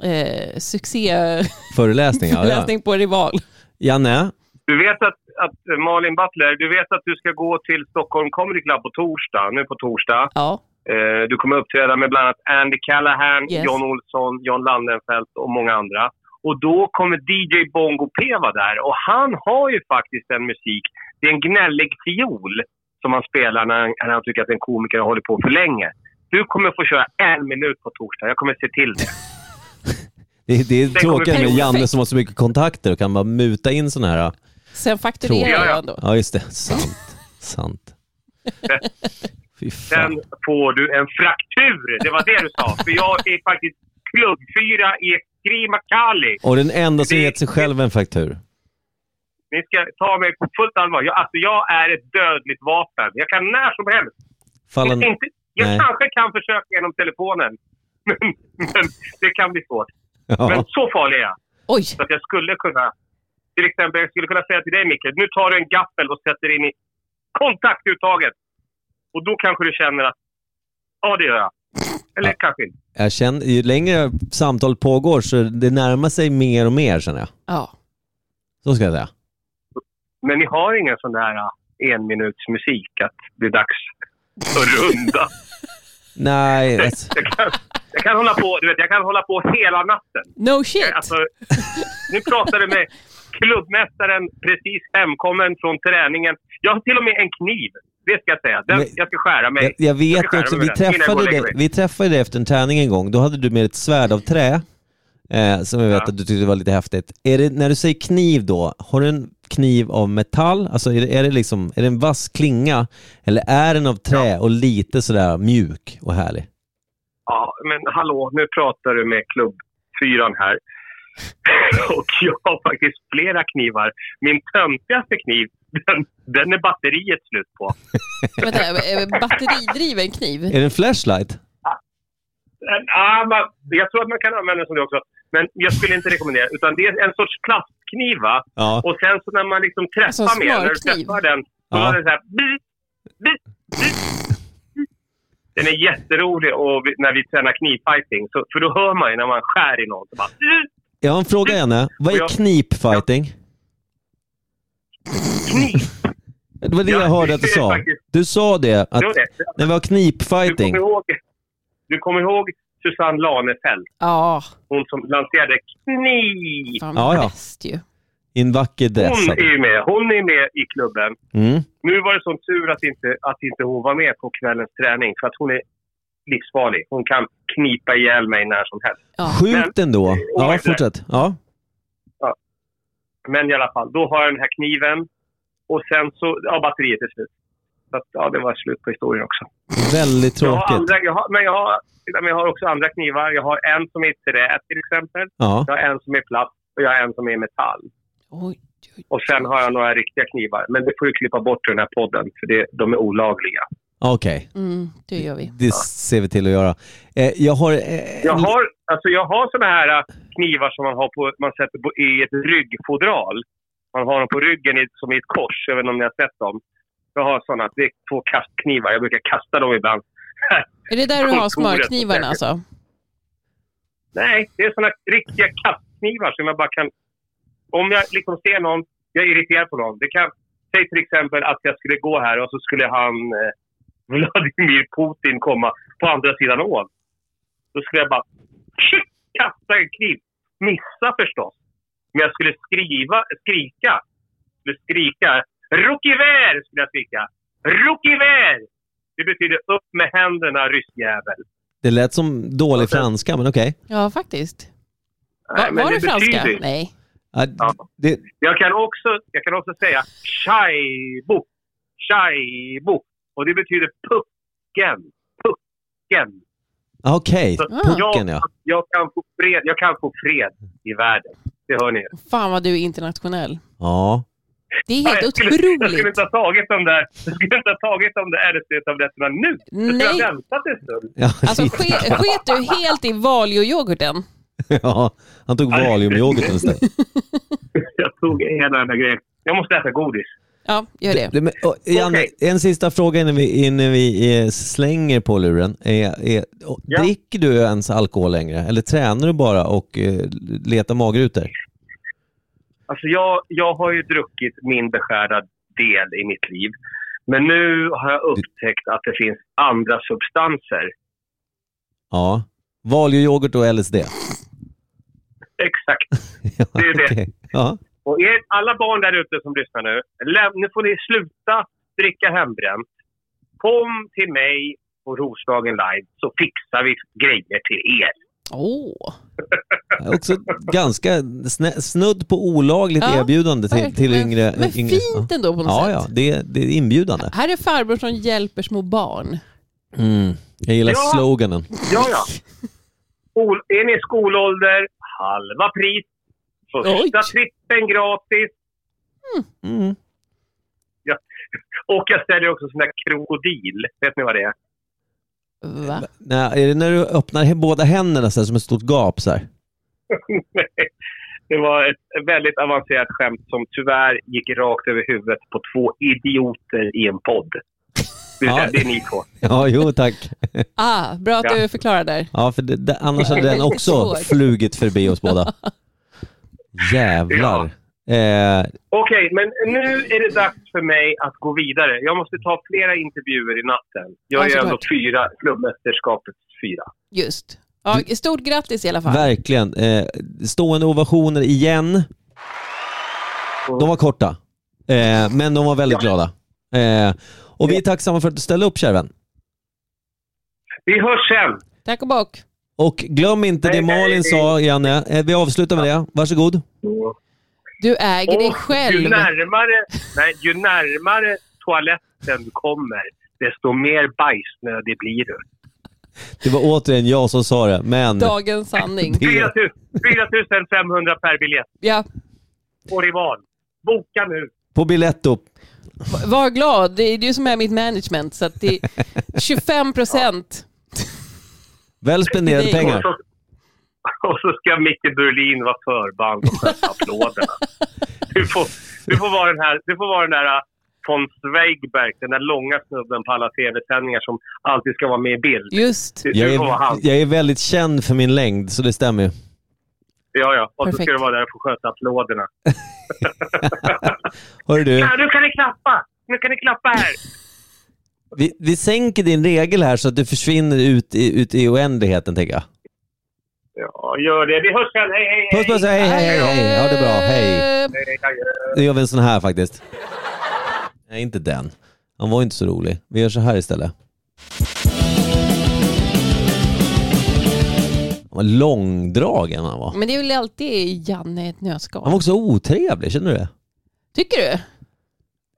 eh, succéläsning
Föreläsning, ja. ja.
på Rival.
Janne,
Du vet att, att Malin Butler, du vet att du ska gå till Stockholm Comedy Club på torsdag, nu på torsdag.
Ja,
Eh, Du kommer uppträda med bland annat Andy Callahan,
Yes.
John Olsson, John Landenfelt och många andra. Och då kommer DJ Bongo P vara där och han har ju faktiskt en musik, det är en gnällig fiol som han spelar när han, när han tycker att en komiker har hållit på för länge. Du kommer få köra en minut på torsdag, jag kommer se till det.
det, det är
kommer
tråkigt med
bli-
Janne som har så mycket kontakter och kan bara muta in sådana här.
sen fakturerar
Tror jag.
jag ändå.
Ja, just det. Sant. Sant. Fy fan.
Sen får du en fraktur, det var det du sa. För jag är faktiskt klubbfyra i Skrima Kali.
Och den enda som gett sig själv en faktur.
Ni ska ta mig på fullt allvar. Jag, alltså jag är ett dödligt vapen. Jag kan när som helst
Falla...
Jag, inte, jag
Nej.
kanske kan försöka genom telefonen. Men, men det kan bli svårt. Men
Ja.
så farlig är jag.
Oj,
Så att jag skulle kunna... Till exempel, jag skulle kunna säga till dig Micke, nu tar du en gaffel och sätter in i kontaktuttaget. Och då kanske du känner att, ja det gör jag. Eller kanske inte.
Jag känner, ju längre samtal pågår så det närmar sig mer och mer känner jag.
ja.
Så ska jag säga.
Men ni har ingen sån där ah, enminutsmusik, att det är dags att runda.
Nej, alltså,
Jag kan, jag kan hålla på, du vet, jag kan hålla på hela natten.
No shit.
Alltså, nu pratar du med klubbmästaren precis hemkommen från träningen. Jag har till och med en kniv. Det ska jag säga. Den,
Men-
jag ska skära mig.
jag, jag
Jag
vet
ska
ju
skära
också,
mig
vi
med den innan jag går och
träffade,
lägger
dig,
mig.
vi träffade dig efter en träning en gång. Då hade du med ett svärd av trä eh, som jag vet
Ja.
att du tyckte var lite häftigt. Är det, när du säger kniv då, har du en kniv av metall? Alltså är det, är det, liksom, är det en vass klinga eller är den av trä och lite sådär mjuk och härlig?
Ja, men hallå, nu pratar du med klubbfyran här. Och jag har faktiskt flera knivar. Min töntigaste kniv, den, den är batteriet slut på.
Vänta, eh, batteridriven kniv?
Är det en flashlight?
Men, ah, man, jag tror att man kan använda den som det också. Men jag skulle inte rekommendera. Utan det är en sorts plastkniv va?
Ja.
Och sen så när man liksom träffar
Alltså,
med den, när du
smörkniv.
träffar den, så
Ja.
var det så här... Bi, bi, Den är jätterolig och vi, när vi tränar knivfighting, så, för då hör man ju när man skär i någon. Så bara,
Jag har en fråga Janne. Vad är
Ja.
knipfighting?
kniv!
Det var det
Ja,
jag hörde att du
det är
sa.
faktiskt-
Du sa det, att
Det var det.
det var
Du
knipfighting.
kommer ihåg, du kommer ihåg Susanne Lanefelt,
Ja,
hon som lanserade kniv.
fan
Ja, ja.
bäst ju.
I en vacker dress.
Hon är ju med, hon är med i klubben.
Mm.
Nu var det sån tur att inte, att inte hon var med på kvällens träning för att hon är livsfarlig. Hon kan knipa ihjäl mig när som helst.
Ja.
Sjukt ändå. Ja,
Oj,
fortsätt. Ja.
Men i alla fall, då har jag den här kniven och sen så, ja batteriet är slut. Så att, ja, det var slut på historien också.
Väldigt
Jag har
tråkigt.
andra, jag har, men jag har, men jag har också andra knivar. Jag har en som är trä till exempel.
Ja.
Jag har en som är platt och jag har en som är metall.
Oj, oj.
Och sen har jag några riktiga knivar. Men det får du klippa bort ur den här podden för det, de är olagliga.
Okej.
Mm, det gör vi.
Det ser vi till att göra. Eh, jag har... Eh,
Jag har, alltså jag har såna här äh, knivar som man, har på, man sätter på, i ett ryggfodral. Man har dem på ryggen i, som i ett kors. Jag vet inte om ni har sett dem. Jag har såna. Det är två kastknivar. Jag brukar kasta dem ibland.
Är det där du har
Kontoret,
smörknivarna
säkert.
alltså?
Nej, det är såna riktiga kastknivar som jag bara kan... Om jag liksom ser någon, jag är irriterad på någon. Det kan, säg till exempel att jag skulle gå här och så skulle han, eh, Vladimir Putin, komma på andra sidan ån. Då skulle jag bara tjock, kasta en kniv. Missa förstås. Men jag skulle skriva, skrika. Jag skulle skrika. Rokiver skulle jag skrika. Rokiver! Det betyder upp med händerna, ryssjävel.
Det lät som dålig franska, men okej.
Ja, faktiskt.
Nej,
Va,
men
var det franska?
betyder-
Nej.
Ja,
Ja.
det,
Jag kan också, jag kan också säga shaibo. Shaibo. Och det betyder pucken. Pucken.
ah, Okej,
Ah.
Så
pucken ja.
jag, jag, kan få fred, jag kan få fred i världen. Det hör ni.
Fan vad du är internationell.
Ja,
Det är helt
jag, skulle, jag skulle
otroligt.
inte ha tagit de där, jag skulle inte ha tagit de där RSD-tabletterna nu. Jag skulle
Nej.
ha väntat en stund.
ja,
Alltså
lite.
ske- sket du helt i Valio-yoghurten?
ja han tog valiumyoghurten istället.
Jag tog hela den där grejen. Jag måste äta godis.
Ja, gör det.
Det- men, och, Janne,
Okej.
En sista fråga innan vi, innan vi eh, slänger på luren. Är, är, och,
Ja.
Dricker du ens alkohol längre eller tränar du bara och eh, letar magrutor?
Alltså jag, jag har ju druckit min beskärda del i mitt liv. Men nu har jag upptäckt att det finns andra substanser.
Ja. Valiumyoghurt och LSD?
Exakt.
Ja,
Det är det.
okej. Ja.
Och er, alla barn där ute som lyssnar nu, läm, nu får ni sluta dricka hembränt. Kom till mig på Roslagen live så fixar vi grejer till er.
Åh,
Också ganska snä, snudd på olagligt
Ja,
erbjudande till, till
verkligen.
yngre.
Men
yngre.
fint ändå på något
Ja,
sätt.
ja det, det är inbjudande.
Här är farbror som hjälper små barn.
Mm. Jag gillar
Ja.
sloganen.
Ja, ja. Ol, är ni i skolålder, halva pris. Första
Oj.
trippen gratis.
Mm.
Och jag säljer också sån där krokodil. Vet ni vad det är?
Va?
Nej, är det när du öppnar he- båda händerna så här, som ett stort gap? Så här?
Nej. Det var ett väldigt avancerat skämt som tyvärr gick rakt över huvudet på två idioter i en podd. Det är,
Ja.
det är ni två.
Ja, jo tack.
Ah, bra att
Ja.
du förklarar där.
Ja, för det, det, annars hade den också
Svårt.
flugit förbi oss båda. Jävlar. Eh,
Okej, men nu är det dags för mig att gå vidare. Jag måste ta flera intervjuer i natten. Jag
Ja,
är
såklart.
ändå fyra, klubbmästerskapets fyra.
Just. Ja, stort grattis i alla fall.
verkligen. Eh, stående ovationer igen.
Mm.
De var korta, eh, men de var väldigt glada. Eh, och vi är tacksamma för att du ställde upp, kära vän.
Vi hörs sen!
Tack och bock.
Och glöm inte det
Hej, hej,
Malin
hej.
sa, Janne. Eh, Vi avslutar med det. Varsågod.
Du äger dig
Och Ju
själv.
närmare, nej, ju närmare toaletten du kommer, desto mer bajsnödig blir du.
Det var återigen jag som sa det, men...
Dagens sanning.
Det,
4 000 500 per biljett.
Ja,
Orivan. Boka nu!
på Biletto.
var glad. Det är du som är mitt management. Så att det är 25 procent.
Väl spenderade
Det är-
pengar.
Och så, och så ska Micke Berlin vara förband och sköta applåderna. Du får, du får vara den här, du får vara den där äh, von Zweigbergk, den där långa snubben på alla tv-sändningar som alltid ska vara med i bild.
Just.
Det,
Jag
det var han.
är, jag är väldigt känd för min längd, så det stämmer ju.
Ja, ja. Och så
Perfekt.
ska du vara där och få sköta applåderna.
Hörru du,
Ja, nu kan ni klappa! Nu kan ni klappa här!
vi, vi sänker din regel här så att du försvinner ut i, ut i oändligheten, tänker jag.
Ja, gör det. Vi hörs sen. Hej, hej, hej!
Puss puss, hej hej hej! hej. Ha det bra, hej!
hej, hej.
Nu gör vi en sån här faktiskt. Nej, inte den. Han var inte så rolig. Vi gör så här istället. Han var långdragen han var.
Men det är väl alltid Janne i ett nötskal.
Han var också otrevlig, känner du det?
Tycker du?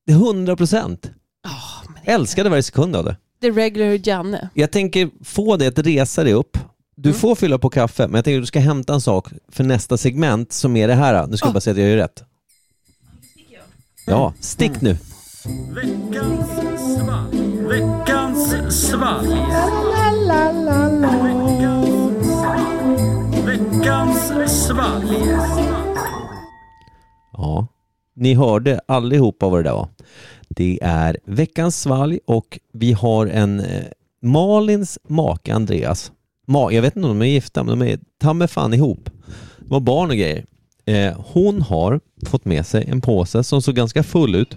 Det är 100 procent.
Ja, men det-
Älskade varje sekund av det.
The regular Janne.
Jag tänker få dig att resa dig upp. Du får fylla på kaffe, men jag tänker att du ska hämta en sak för nästa segment som är det här. Nu ska jag bara säga att jag gör rätt. Ja, stick nu. Ja, ni hörde allihopa vad det där var. Det är veckans svalg och vi har en eh, Malins make Andreas. Ma, jag vet inte om de är gifta, men de är ta mig fan ihop. De var barn och grejer. Eh, hon har fått med sig en påse som såg ganska full ut.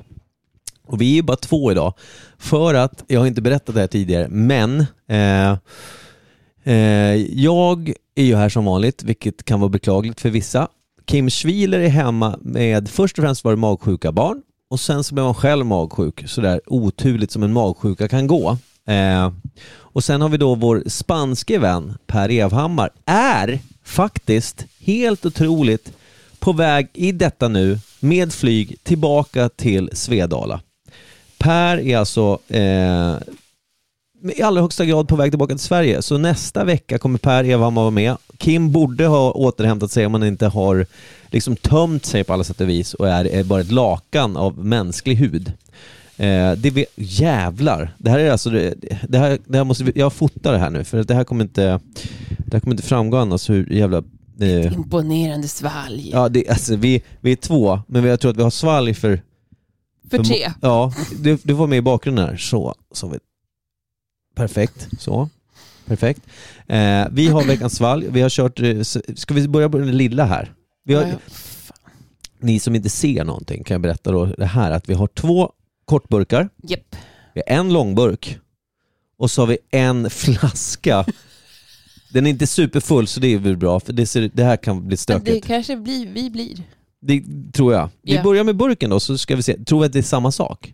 Och vi är ju bara två idag. För att, jag har inte berättat det här tidigare, men eh, Eh, jag är ju här som vanligt, vilket kan vara beklagligt för vissa. Kim Schwiler är hemma med, först och främst var det magsjuka barn och sen så blev man själv magsjuk, sådär oturligt som en magsjuka kan gå. Eh, och sen har vi då vår spanske vän Per Evhammar, är faktiskt helt otroligt på väg i detta nu med flyg tillbaka till Svedala. Per är alltså eh, i allra högsta grad på väg tillbaka till Sverige. Så nästa vecka kommer Per Evhammar vara med. Kim borde ha återhämtat sig om han inte har liksom tömt sig på alla sätt och vis och är, är bara ett lakan av mänsklig hud. Eh, det vi, jävlar, det här är alltså, det, det här, det här måste vi, jag fotar det här nu för att det här kommer inte, det här kommer inte framgå annars hur jävla eh,
Imponerande svalg.
Ja, det, alltså, vi, vi är två, men jag tror att vi har svalg för...
För tre.
Ja, du, du var med i bakgrunden här. Så, så vi, perfekt. Så. Perfekt. Eh, vi har veckans svalg. Vi har kört... eh, s- Ska vi börja på den lilla här? Vi har,
Ja,
Ni som inte ser någonting kan jag berätta då det här att vi har två kortburkar,
Japp.
vi har en långburk och så har vi en flaska. Den är inte superfull så det är väl bra för det, ser, det här kan bli
Men Det
stökigt.
kanske blir, vi blir.
Det tror jag. Vi
Ja.
börjar med burken då så ska vi se. Tror vi att det är samma sak?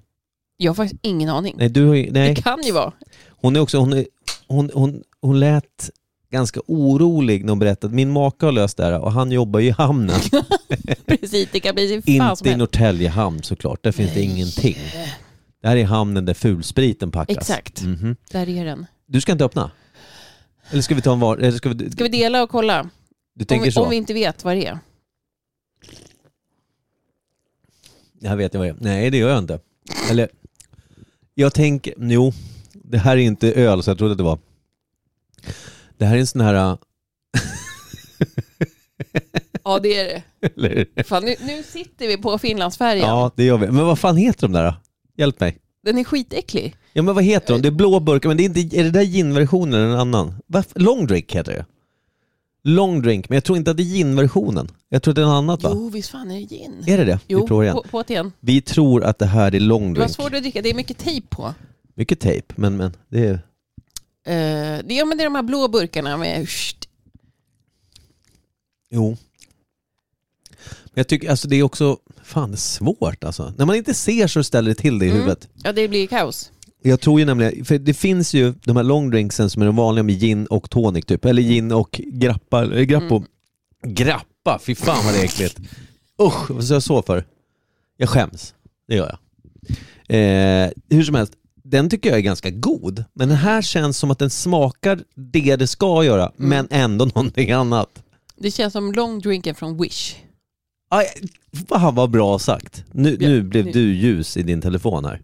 Jag har faktiskt ingen aning.
Nej, du har ju, nej.
Det kan ju vara.
Hon är också, hon, är, hon, hon, hon lät ganska orolig när hon berättade. Min make har löst det här och han jobbar ju i hamnen.
Precis, det kan bli hur fan som
Inte i
helst.
Norrtälje hamn såklart. Där finns det ingenting. Det här är hamnen där fulspriten packas.
Exakt.
Mhm.
Där är den.
Du ska inte öppna? Eller ska vi ta en var? Eller ska vi,
Ska vi dela och kolla?
du
Om
tänker
vi,
så?
om vi inte vet vad det är.
Jag vet inte vad det är. Nej, det gör jag inte. Eller, jag tänker, jo, det här är inte öl så jag trodde att det var. Det här är en sån här,
Ja, det är det.
eller hur?
Fan, nu, nu sitter vi på Finlandsfärjan.
Ja, det gör vi. Men vad fan heter de där då? Hjälp mig.
Den är skitäcklig.
Ja men vad heter de? Det är blå burkar, men det är, inte, är det där ginversionen eller en annan? Varför? Long drink heter det. Long drink, men jag tror inte att det är ginversionen. Jag tror att det är något annat va?
Jo, visst fan är det gin?
Är det det?
Jo,
vi provar igen.
på, på igen.
Vi tror att det här är long
Det var
drink.
svårt att dricka, det är mycket tejp på.
Mycket tejp, men, men det är...
Eh, det, ja, men det är de här blå burkarna med... Sht.
Jo. Men jag tycker, alltså det är också, fan det är svårt alltså. När man inte ser så ställer det till det i
Mm.
huvudet.
Ja, det blir kaos.
Jag tror ju nämligen, för det finns ju de här longdrinksen som är de vanliga med gin och tonic typ, eller gin och grappa, eller grappo. Grappa, fy fan vad det är äckligt. Usch, vad sa jag så för? Jag skäms, det gör jag. Eh, hur som helst, den tycker jag är ganska god, men den här känns som att den smakar det det ska göra, men ändå någonting annat.
Det känns som longdrinken från Wish.
Aj, fan vad bra sagt. Nu,
Ja,
nu blev
nu.
du ljus i din telefon här.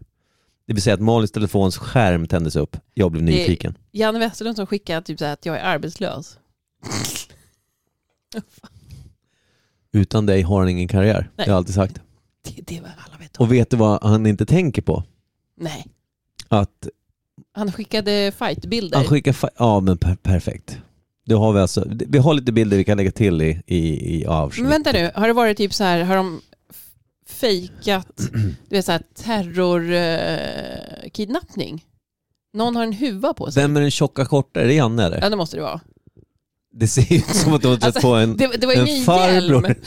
Det vill säga att Malins telefons skärm tändes upp. Jag blev nyfiken.
Janne Westerlund som skickar typ så här att jag är arbetslös.
Utan dig har han ingen karriär.
Nej.
Jag har alltid sagt.
Det, det är vad alla vet om.
Och vet du vad han inte tänker på?
Nej,
Att
han skickade fightbilder.
han skickar... fa- Ja men per perfekt. Det har vi, alltså, vi har lite bilder vi kan lägga till i, i, i
Men
avsnittet.
vänta nu, har det varit typ så här, har de f- fejkat du vet så här terrorkidnappning? Eh, kidnappning? Någon har en huva på sig?
Vem är den tjocka korta? Är det Janne eller?
Ja det måste det vara.
Det ser ut som att du har satt
Alltså,
på en,
det, det var ju
Mm. en
ingen
farbror.
hjälm.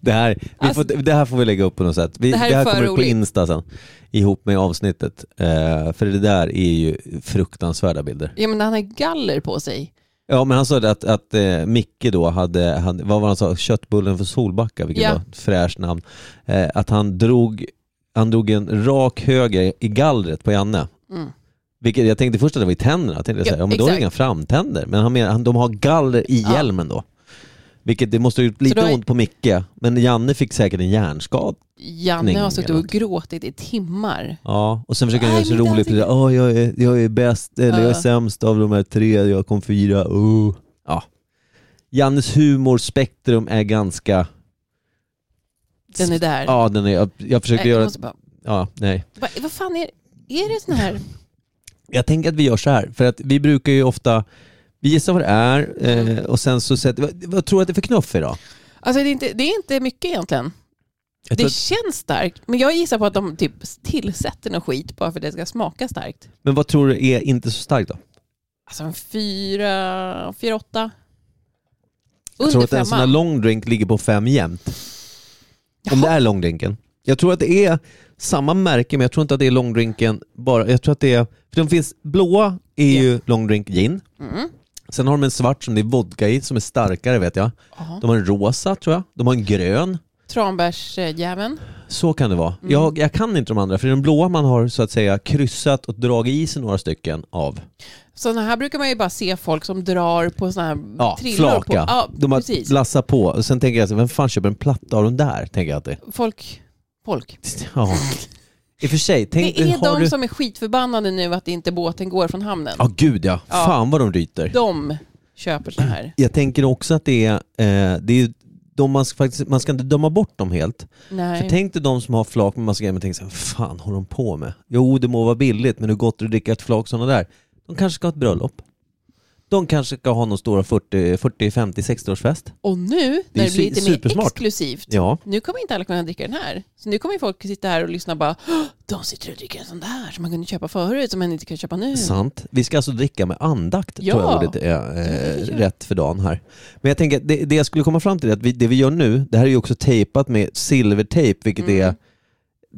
det, här, vi
Alltså-
får, det här får vi lägga upp på något sätt. Vi,
Det
det
här
här,
är för
kommer upp på
roligt.
Insta sen ihop med avsnittet. Eh, för det där är ju fruktansvärda bilder.
Ja men han har galler på sig.
Ja men han sa det att, att eh, Micke då hade, han, vad var han sa, köttbullen för Solbacka, vilket
Ja.
var ett fräscht namn. Eh, att han drog, han drog en rak höger i gallret på Janne.
Mm.
Vilket jag tänkte först att det var i tänderna, jag tänkte
Ja,
så här, ja, men då är det
exakt.
inga framtänder. Men han menar, han, de har galler i
Ja.
hjälmen då. Vilket det måste ha gjort lite
då är-
ont på Micke, men Janne fick säkert en hjärnskada.
Janne har
Ning
suttit
eller
och
något.
gråtit i timmar.
Ja, och sen försöker han
Nej,
göra sig
men det
rolig,
ansikte-
jag, oh, jag, är, jag är bäst, eller jag är
Ja.
sämst av de här tre, jag kom fyra. Oh. Ja. Jannes humorspektrum är ganska...
Den är där.
Ja, den är, jag, jag försökte
Nej, jag
göra...
måste bara,
Ja, nej.
vad, vad fan är Är det sån här?
Jag tänker att vi gör så här, för att vi brukar ju ofta... Vi gissar vad det är eh, och sen så sätter vad, vad tror du att det är för knuff idag?
Alltså det är inte, det är inte mycket egentligen.
Jag tror
Det
att,
känns starkt, men jag gissar på att de typ tillsätter någon skit bara för att det ska smaka starkt.
men vad tror du är inte så starkt då?
Alltså en fyra, fyra åtta.
Jag tror
Under
att en sån här
femman.
long drink ligger på fem jämnt. Om det
Jaha.
är långdrinken. Jag tror att det är samma märke men jag tror inte att det är långdrinken bara. Jag tror att det är, för de finns, blåa är ju långdrink gin.
Mm.
Sen har de en svart som det är vodka i som är starkare vet jag.
Jaha.
De har en rosa tror jag. De har en grön.
Tranbärsjäveln.
Så kan det vara.
Mm.
Jag, jag kan inte de andra för den blåa man har så att säga kryssat och dragit i sig några stycken av.
Sådana här brukar man ju bara se folk som drar på sådana här
Ja,
trillar
flaka.
på. Ja,
de har
precis.
lassat på. Och sen tänker jag så här, vem fan köper en platta av de där? Tänker jag alltid.
Folk. Folk.
Ja. I och för sig, tänk
Det är
har
de
du...
som är skitförbannade nu att inte båten går från hamnen.
Ja gud ja.
Ja.
fan vad de ryter.
De köper så här.
Jag tänker också att det är, eh, det är ju de man, ska faktiskt, man ska inte döma bort dem helt. För
Nej.
tänk dig de som har flak med massa grejer men tänker såhär, fan håller de på med? Jo det må vara billigt men hur gott är det att dricka ett flak sådana där? De kanske ska ha ett bröllop. De kanske ska ha någon stora 40, 40 50, 60-årsfest.
Och nu när det
su-
blir lite mer
supersmart.
exklusivt,
Ja.
nu kommer inte alla kunna dricka den här. Så nu kommer ju folk sitta här och lyssna och bara, "Åh, de sitter och dricker en sån där som man kunde köpa förut som man inte kan köpa nu.
Sant. Vi ska alltså dricka med andakt, tror
Mm. Ja.
jag ordet är eh,
Ja.
rätt för dagen här. Men jag tänker att det, det jag skulle komma fram till är att vi, det vi gör nu, det här är ju också tejpat med silvertejp, vilket
Mm.
är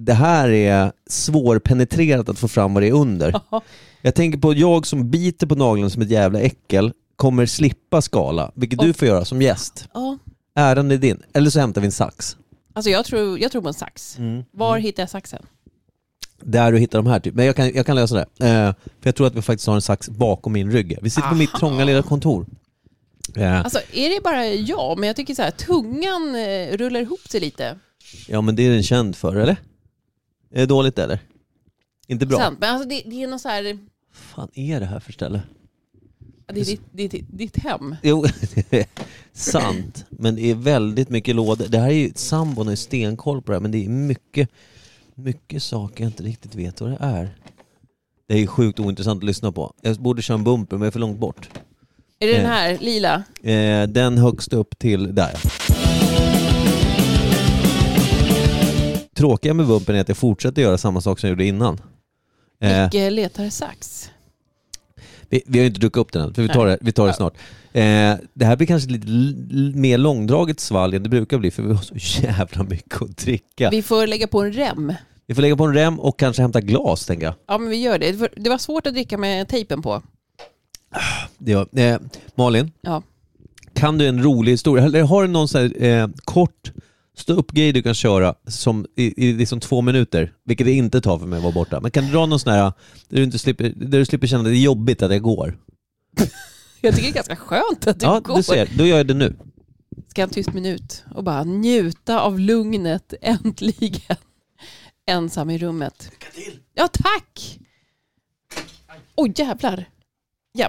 det här är svårpenetrerat att få fram vad det är under.
Ja.
Jag tänker på jag som biter på nageln som ett jävla äckel kommer slippa skala, vilket du
Och-
får göra som gäst.
Ja.
Äran är din. Eller så hämtar vi en sax.
Alltså jag tror, jag tror på en sax. Var
Mm.
hittar jag saxen?
Där du hittar de här typ. Men jag kan, jag kan lösa det. Eh, för jag tror att vi faktiskt har en sax bakom min rygg. Vi sitter på mitt trånga lilla kontor. Eh,
Alltså är det bara jag? Men jag tycker så här, tungan eh, rullar ihop sig lite.
Ja men det är den känd för eller? Är det dåligt eller? Inte bra?
Sant. Men alltså det, det är något så här,
fan är det här för ställe?
det är ditt, ditt, ditt hem.
Jo, det är sant. Men det är väldigt mycket lådor. Det här är ju, sambon har ju stenkoll på det här men det är mycket, mycket saker jag inte riktigt vet vad det är. Det är ju sjukt ointressant att lyssna på. Jag borde köra en bumper men jag är för långt bort.
Är det den
Eh.
här lila?
Eh, den högst upp till där. ja. Tråkiga med bumpen är att jag fortsätter göra samma sak som jag gjorde innan. Eh,
Micke letar sax.
vi, vi har ju inte druckit upp den än, för vi tar det, vi tar det snart. Eh, det här blir kanske lite l- l- mer långdraget svalg än det brukar bli, för vi har så jävla mycket att dricka.
Vi får lägga på en rem.
Vi får lägga på en rem och kanske hämta glas, tänker jag.
Ja men vi gör det. Det var- Det var svårt att dricka med tejpen på.
Det gör- eh, Malin,
Ja.
kan du en rolig historia? Eller har du någon sån här eh, kort ståuppgrej du kan köra som i, i liksom två minuter, vilket det inte tar för mig att vara borta. Men kan du dra någon sån här där du, inte slipper, där du slipper känna att det är jobbigt att jag går?
Jag tycker det är ganska skönt att du
ja,
går.
du ser. Då gör jag det nu.
Ska en tyst minut och bara njuta av lugnet äntligen. Ensam i rummet. Lycka till! Ja, tack! Oj, jävlar. Ja.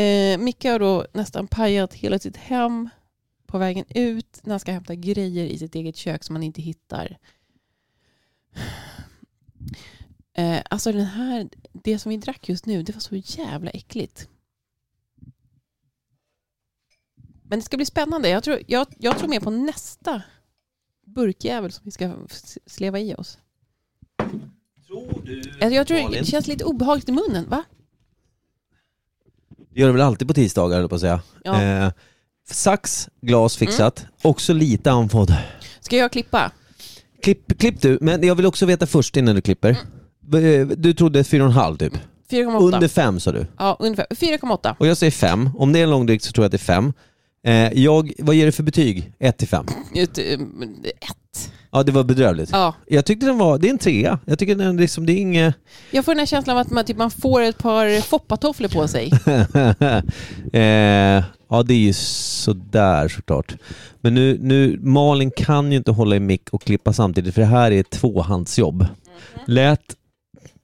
Eh, Micke har då nästan pajat hela sitt hem på vägen ut när han ska hämta grejer i sitt eget kök som han inte hittar. Eh, alltså den här, det som vi drack just nu, det var så jävla äckligt. Men det ska bli spännande. Jag tror, jag, jag tror mer på nästa burkjävel som vi ska s- sleva i oss.
Tror du...
Alltså jag tror
Malin?
det känns lite obehagligt i munnen, va?
Det gör det väl alltid på tisdagar, höll jag på att säga.
Ja. Mm.
Eh, sax, glas fixat. Också lite andfådd.
Ska jag klippa?
Klipp, klipp du, men jag vill också veta först innan du klipper.
Mm.
Eh, Du trodde 4,5 typ.
4,8.
Under 5 sa du.
Ja, ungefär. 4,8.
Och jag säger 5. Om det är en långdryck så tror jag att det är 5. Eh, jag, vad ger du för betyg? 1 till 5.
Ett, eh, men, Ett.
Ja, det var bedrövligt.
Ja.
Jag tyckte den var, det är en trea. Jag tycker den liksom, det är inget...
Jag får den här känslan av att man, typ, man får ett par foppatofflor på sig.
eh, ja, det är ju sådär såklart. Men nu, nu, Malin kan ju inte hålla i mick och klippa samtidigt för det här är ett tvåhandsjobb. Lät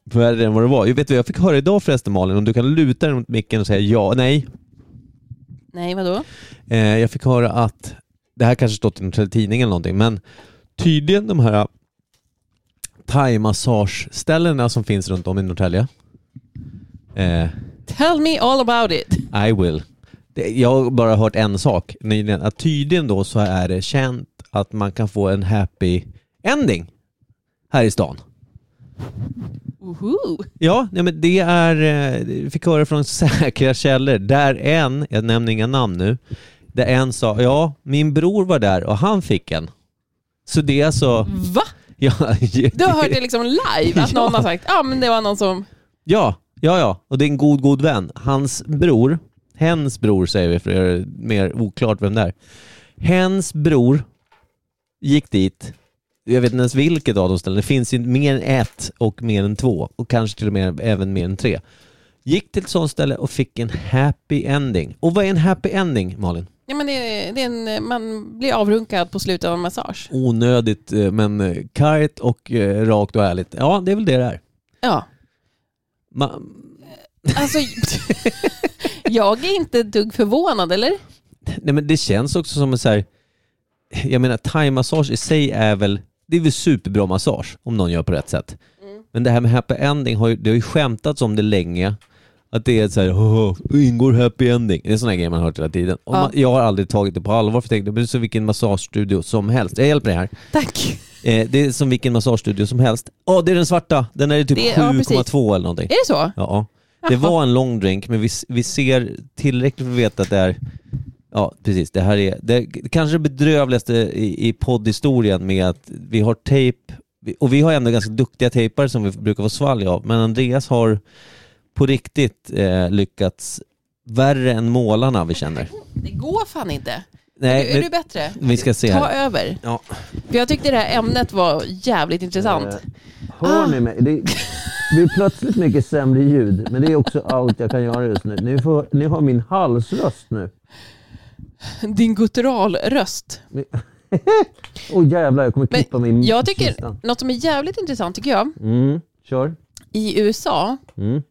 värre än vad det var. Jag vet vad jag fick höra idag förresten Malin, om du kan luta dig mot micken och säga ja, nej.
Nej, vadå?
Eh, jag fick höra att, det här kanske stått i någon tidning eller någonting, men tydligen de här thai-massageställena som finns runt om i Norrtälje. Eh,
Tell me all about it.
I will. Det, jag har bara hört en sak nyligen, att tydligen då så är det känt att man kan få en happy ending här i stan.
Woohoo.
Ja, nej men det är, eh, jag fick höra från säkra källor, där en, jag nämner inga namn nu, där en sa ja, min bror var där och han fick en. Så det är alltså,
Va?
ja,
Du har hört det liksom live, att någon har sagt ja men det var någon som...
ja, ja, ja, och det är en god, god vän. Hans bror, hens bror säger vi för att göra det mer oklart vem det är. Hens bror gick dit, jag vet inte ens vilket av de ställena, det finns ju mer än ett och mer än två och kanske till och med även mer än tre. Gick till ett sånt ställe och fick en happy ending. Och vad är en happy ending Malin?
Ja, men det, är- det är en, man blir avrunkad på slutet av en massage.
Onödigt eh, men eh, kargt och eh, rakt och ärligt. Ja, det är väl det det är.
Ja,
Ma-
alltså... jag är inte ett dugg förvånad, eller?
Nej men det känns också som en så här, jag menar thai-massage i sig är väl, det är väl superbra massage om någon gör på rätt sätt.
Mm.
Men det här med happy ending, har ju, det har ju skämtats om det länge. Att det är så här, "Åh, ingår happy ending. Det är sådana grejer man har hört hela tiden. Och
Ja.
man, jag har aldrig tagit det på allvar för jag tänkte, men det är så vilken massagestudio som helst. Jag hjälper dig här.
Tack.
Eh, det är som vilken massagestudio som helst. Ja, det är den svarta. Den är typ
Det är- ja, precis.
7,2 eller någonting.
Är det så?
Ja. Det var en lång drink men vi, vi ser tillräckligt för att veta att det är Ja precis, det här är det är kanske det bedrövligaste i, i poddhistorien med att vi har tejp vi- och vi har ändå ganska duktiga tejpare som vi brukar få svalg av men Andreas har på riktigt eh, lyckats värre än målarna vi känner.
Det går fan inte.
Nej,
är, du, är du bättre?
men, vi ska se
Ta
här.
över.
Ja.
För jag tyckte det här ämnet var jävligt intressant.
Eh, Hör ni mig? Det blir plötsligt mycket sämre ljud men det är också allt jag kan göra just nu. Ni, får, ni har min halsröst nu.
Din gutturalröst.
Åh oh, jävlar, jag kommer
Men
klippa min
Jag tycker
kistan.
något som är jävligt intressant tycker jag.
Mm, kör.
I USA,
Mm.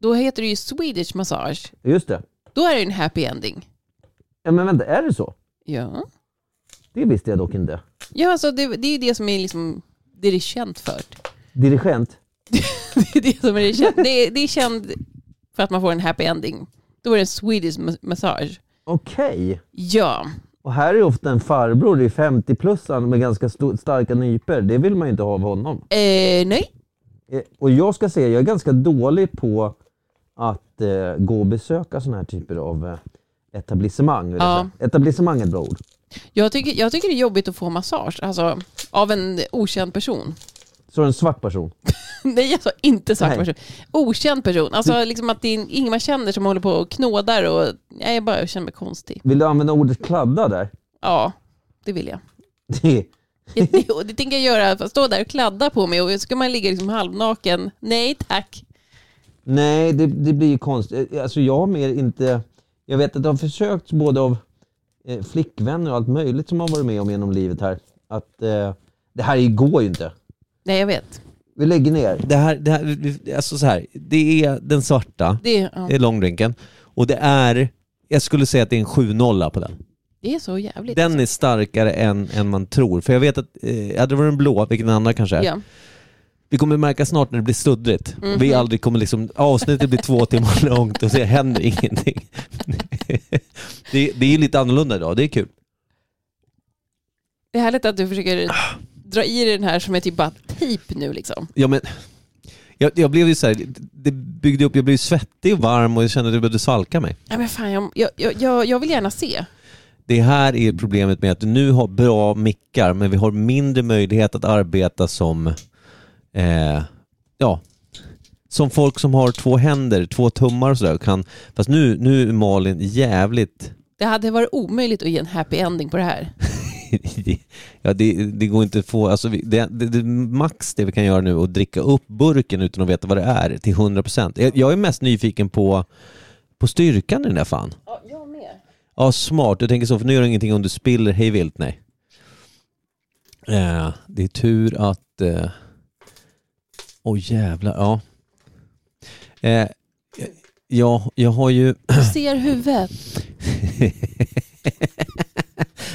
då heter det ju Swedish massage.
Just det.
Då är det ju en happy ending.
Ja, men vänta, är det så?
Ja,
Det visste jag dock inte.
ja alltså det, det är ju det som är liksom det det är känt för.
Dirigent?
Det är det som är det känt. Det är, det är känd för att man får en happy ending. Då är det en Swedish mas- massage.
Okej.
Ja,
Och här är ofta en farbror i 50-plussan med ganska sto- starka nyper. Det vill man ju inte ha av honom.
eh, nej.
Eh, Och jag ska säga, jag är ganska dålig på att eh, gå och besöka sådana här typer av eh, etablissemang. vill jag
Ja.
säga. Etablissemang är ett bra ord.
Jag tycker, jag tycker det är jobbigt att få massage, alltså av en okänd person.
Så är det en svart person.
Nej, jag sa inte svart
Nej.
person. Okänd person. Alltså liksom att det är ingen man känner som håller på och knådar och nej, jag bara känner mig konstig.
Vill du använda ordet kladda där?
Ja, det vill jag. Det, det, och det tänker jag göra, fast stå där och kladda på mig och så ska man ligga liksom halvnaken. Nej tack.
Nej, det, det blir ju konstigt. Eh, Alltså jag har mer inte... Jag vet att det har försökt både av eh, flickvänner och allt möjligt som har varit med om genom livet här. Att eh, det här går ju inte.
Nej jag vet.
Vi lägger ner. Det här, det här, vi- alltså så här, det är den svarta,
Det, ja.
Eh, det är långdrinken. Och det är, jag skulle säga att det är en 7-0 på den.
Det är så jävligt.
Den är starkare än, än man tror. För jag vet att, eh, hade det varit en blå, vilket den andra kanske är,
ja.
vi kommer märka snart när det blir sluddrigt.
Mhm.
Vi aldrig kommer liksom, avsnittet blir två timmar långt och så händer ingenting. det, det är lite annorlunda idag, det är kul.
Det är härligt att du försöker dra i dig den här som är typ bara tejp nu liksom.
Ja, men, jag, jag blev ju så här, det byggde upp, jag blev svettig och varm och jag kände att jag behövde svalka mig.
Ja, men fan, jag, jag- jag, jag, jag vill gärna se.
Det här är problemet med att nu har bra mickar men vi har mindre möjlighet att arbeta som eh, ja, som folk som har två händer, två tummar och sådär. Kan, fast nu, nu är Malin jävligt...
Det hade varit omöjligt att ge en happy ending på det här.
ja, det, det går inte att få... Alltså, vi- det, det, det, max det vi kan göra nu är att dricka upp burken utan att veta vad det är till 100%. Jag, jag är mest nyfiken på, på styrkan i den där fan.
Ja, jag med.
Ja, smart. Jag tänker så, för nu gör det ingenting om du spiller hej vilt. Nej. Eh, det är tur att... Åh eh... oh, jävlar, ja. Eh, ja, jag har ju...
Du ser huvudet.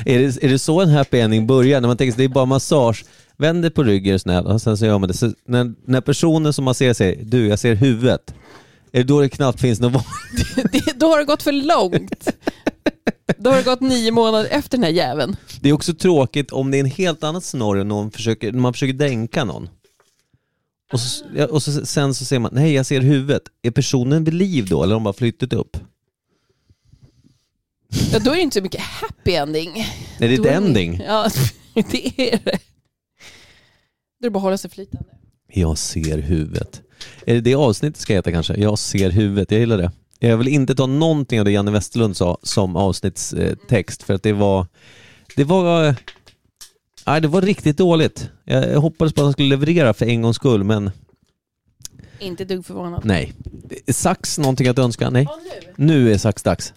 är, det, är det så en happy ending börjar? När man tänker sig det är bara massage. Vänder på ryggen snäll och sen så gör man det. Så när, när personen som masserar säger du, jag ser huvudet. Är det då det knappt finns någon val?
Det, då har det gått för långt. Då har det gått nio månader efter den här jäveln.
Det är också tråkigt om det är en helt annat scenario när någon försöker, när man försöker dränka någon. Och, så, ja, och så, sen så ser man, nej jag ser huvudet. Är personen vid liv då eller har de bara flyttat upp?
Ja, då är det inte så mycket happy ending.
Är det
Då
ett ending?
Ja, det är det. Då är det bara att hålla sig flytande.
Jag ser huvudet. Är det det avsnittet ska heta kanske? Jag ser huvudet, jag gillar det. Jag vill inte ta någonting av det Janne Westerlund sa som avsnittstext för att det var, det var, eh, nej det var riktigt dåligt. Jag jag hoppades på att han skulle leverera för en gångs skull men
Inte ett dugg förvånad.
nej. Sax någonting att önska? Nej.
Ja, nu.
Nu är saxdags.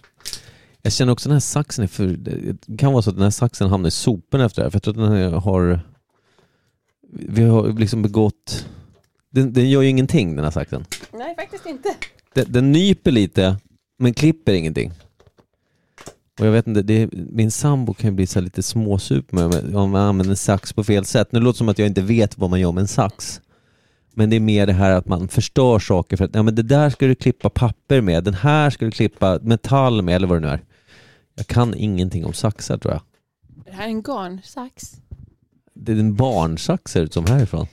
Jag känner också den här saxen är för... Det kan vara så att den här saxen hamnar i sopen efter det här. För jag tror att den här har... Vi har liksom begått... Den, den gör ju ingenting den här saxen.
Nej, faktiskt inte.
Den, den nyper lite men klipper ingenting. Och jag vet inte, det, min sambo kan ju bli så här lite småsup med om- om man använder en sax på fel sätt. Nu låter det som att jag inte vet vad man gör med en sax. Men det är mer det här att man förstör saker för att ja, men det där ska du klippa papper med, den här ska du klippa metall med eller vad det nu är. Jag kan ingenting om saxar tror jag.
Det här är en garnsax.
Det är en barnsax ser det ut som härifrån.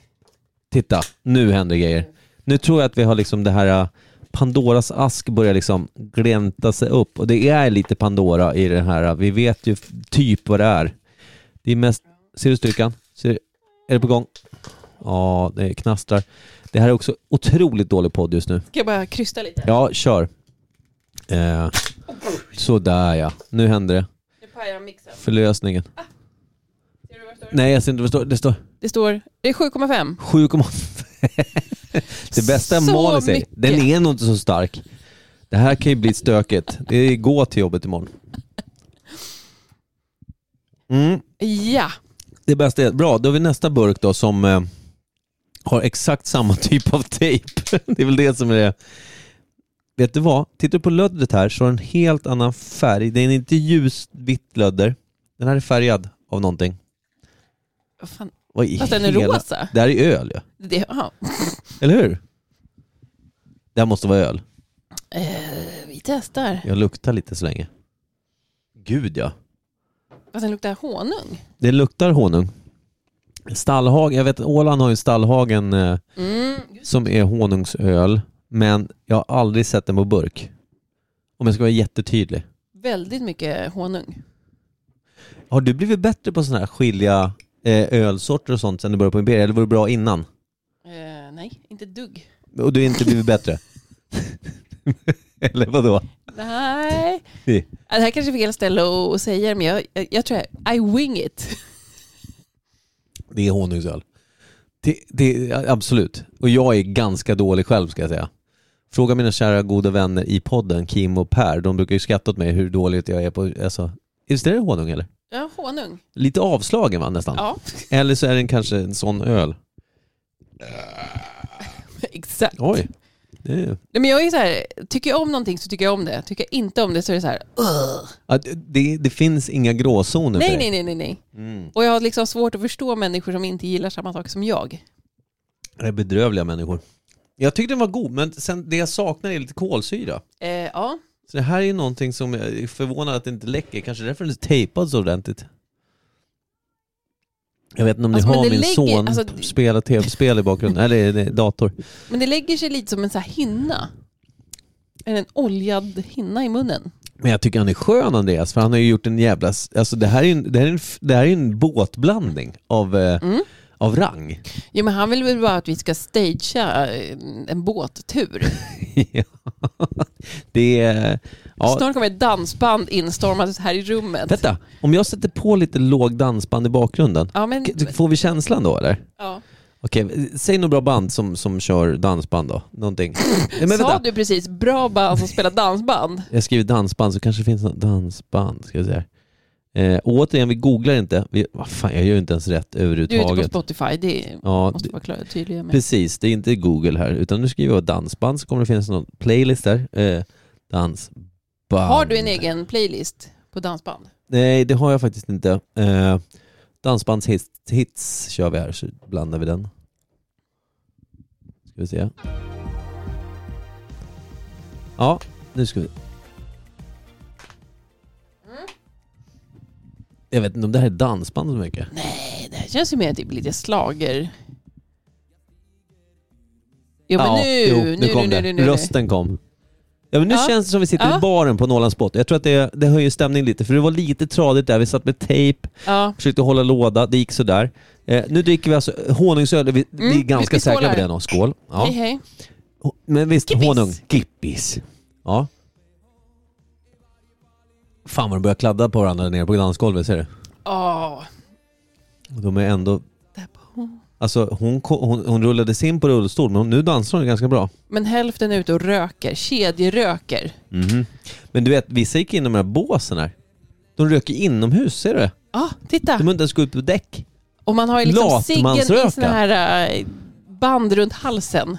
Titta, nu händer grejer. Nu tror jag att vi har liksom det här eh, Pandoras ask börjar liksom glänta sig upp och det är lite Pandora i det här. eh, Vi vet ju f- typ vad det är. Det är mest, ser du styrkan? Ser, är det på gång? Ja, det knastrar. Det här är också otroligt dålig podd just nu.
Ska jag bara krysta lite?
Ja, kör. Eh, sådär ja, nu händer det.
Nu pajar mixen.
Förlösningen. Nej, jag ser inte vad det står. Det står
Det står, det är 7,5.
7,5. Det bästa är
Så
Malin säger.
mycket.
Den är nog inte så stark. Det här kan ju bli stökigt. Det är gå till jobbet imorgon. Mm,
Ja,
det bästa är, bra då har vi nästa burk då som eh, har exakt samma typ av tejp. Det är väl det som är det. Vet du vad? Tittar du på löddret här så har den en helt annan färg. Den är inte ljusvitt lödder. Den här är färgad av någonting.
vad fan.
Vad i
Fast den är
hela-
rosa.
Det här är öl ja.
Det, ja.
Eller hur? Det här måste vara öl.
Eh, vi testar.
Jag luktar lite så länge. Gud ja.
Fast den luktar honung.
Det luktar honung. Stallhagen, jag vet att Åland har ju Stallhagen eh,
Mm, just.
som är honungsöl. Men jag har aldrig sett den på burk. Om jag ska vara jättetydlig.
Väldigt mycket honung.
Har du blivit bättre på sådana här skilja eh, ölsorter och sånt sen du började på Imperiet? Eller var du bra innan?
Eh, nej, inte ett dugg.
Och du har inte blivit bättre? Eller vadå?
Nej.
Det-
Ja, Det här kanske är fel ställe att att säga det, men jag, jag, jag tror jag, I wing it.
Det är honungsöl. Det, det, absolut. Och jag är ganska dålig själv ska jag säga. Fråga mina kära goda vänner i podden, Kim och Per. De brukar ju skratta åt mig hur dåligt jag är på... Alltså, visst är det honung eller?
Ja, honung.
Lite avslagen va nästan?
Ja,
Eller så är den kanske en sån öl.
exakt.
Oj. Det är,
Nej, men jag är så här, tycker jag om någonting så tycker jag om det. Tycker jag inte om det så är det så här, "Ugh."
ja, det- det, det finns inga gråzoner för
nej,
dig.
nej, nej, nej, nej.
Mm.
Och jag har liksom svårt att förstå människor som inte gillar samma sak som jag.
Det är bedrövliga människor. Jag tyckte den var god, men sen, det jag saknar är lite kolsyra.
Eh, ja,
Så det här är ju någonting som jag är förvånad att det inte läcker. Kanske därför den är tejpad så ordentligt. Jag vet inte om
Alltså,
ni
men
har
det
min
lägger-
son
alltså,
p- spela tv-spel i bakgrunden, eller nej, dator.
men det lägger sig lite som en så här hinna. En oljad hinna i munnen.
Men jag tycker han är skön Andreas, för han har ju gjort en jävla... s- Alltså det här är ju en, det här är en, f- det här är ju en båtblandning av, eh,
Mm.
av rang.
Jo, men han vill väl bara att vi ska stagea eh, en båttur.
Ja. det är... Ja,
Snart kommer ett dansband instormandes här i rummet.
vänta, om jag sätter på lite låg dansband i bakgrunden,
Ja, men,
k- får vi känslan då eller?
ja.
Okej, säg något bra band som, som kör dansband då. Någonting. Nej, men
Sa
vänta.
du precis bra band som spelar dansband?
Jag skriver dansband så kanske det finns något dansband. Ska jag säga. Eh, och återigen, vi googlar inte. Vi, vad fan, jag gör ju inte ens rätt
Du är ute på
överhuvudtaget.
Spotify, det
Ja,
måste
d-
vara klar, tydliga med.
precis. Det är inte Google här. Utan nu skriver jag dansband så kommer det finnas någon playlist där. Eh, dansband.
Har du en egen playlist på dansband?
Nej, det har jag faktiskt inte. Eh, dansbandshits hits kör vi här så blandar vi den. Ska vi se. Ja, nu ska vi.
Mm.
Jag vet inte om det här är dansband så mycket.
Nej, det här känns ju mer typ lite slager. Jo, men
Ja,
nu,
jo,
nu, nu,
kom
nu,
det.
nu, nu,
Rösten kom. Ja, men nu
Ja.
känns det som vi sitter
Ja.
i baren på Norrlands båt. Jag tror att det, det höjer stämningen lite, för det var lite tradigt där. Vi satt med tejp,
Ja.
Försökte hålla låda, det gick sådär. Eh, nu dricker vi alltså honungsöl, vi, vi är
Mm,
ganska
vi skålar.
säkra på det. Då. Skål. Ja.
Hej, hej.
Ho- Men visst,
Kippis.
honung. Kippis. Ja. Fan vad de börjar kladda på varandra nere på dansgolvet, ser du?
Åh,
Och De är ändå...
där på-
Alltså hon, ko- hon, hon rullades in på rullstol, men hon, nu dansar hon ganska bra.
Men hälften är ute och röker, kedjeröker.
Men du vet, vissa gick in i de här båsen här. De röker inomhus, ser du det?
Ja, titta.
De har inte ens gått ut på däck.
Och man har ju liksom ciggen i
Latmansröka.
såna här eh, band runt halsen.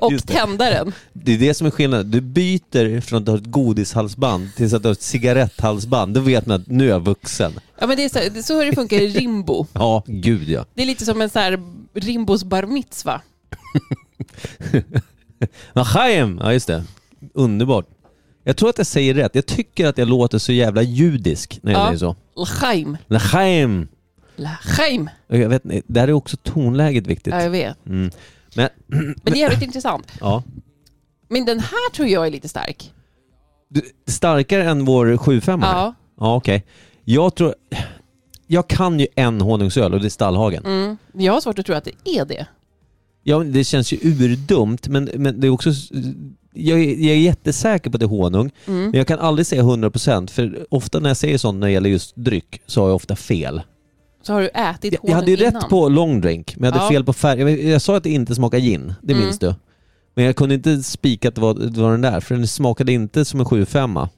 Och
Just det.
tändaren.
Det är det som är skillnaden. Du byter från att du har ett godishalsband till att du har ett cigaretthalsband. Då vet man att nu är jag vuxen.
Ja, men det är så, det är så det funkar i Rimbo.
Ja, gud ja.
Det är lite som en så här Rimbos bar mitzva.
Machaim! Ja, just det. Underbart. Jag tror att jag säger rätt. Jag tycker att jag låter så jävla judisk när jag
Ja.
säger så.
L'chaim.
Machaim!
L'chaim.
Jag vet inte, där är också tonläget viktigt.
Ja, jag vet.
Mm. Men,
Men det är jävligt intressant.
ja.
Men den här tror jag är lite stark.
Du, starkare än vår 75
Ja.
Ja, okej. Jag tror... Jag kan ju en honungsöl och det är Stallhagen.
Mm. Jag har svårt att tro att det är det.
Ja, men det känns ju urdumt, men, men det är också... Jag är, jag är jättesäker på att det är honung,
Mm.
men jag kan aldrig säga 100% för ofta när jag säger sånt när det gäller just dryck så har jag ofta fel.
Så har du ätit
Jag,
honung
jag hade ju
innan.
rätt på long drink, men jag hade
Ja.
fel på färg. Jag, jag sa att det inte smakar gin, det
Mm.
minns du. Men jag kunde inte spika att det var, det var den där, för den smakade inte som en 7-5.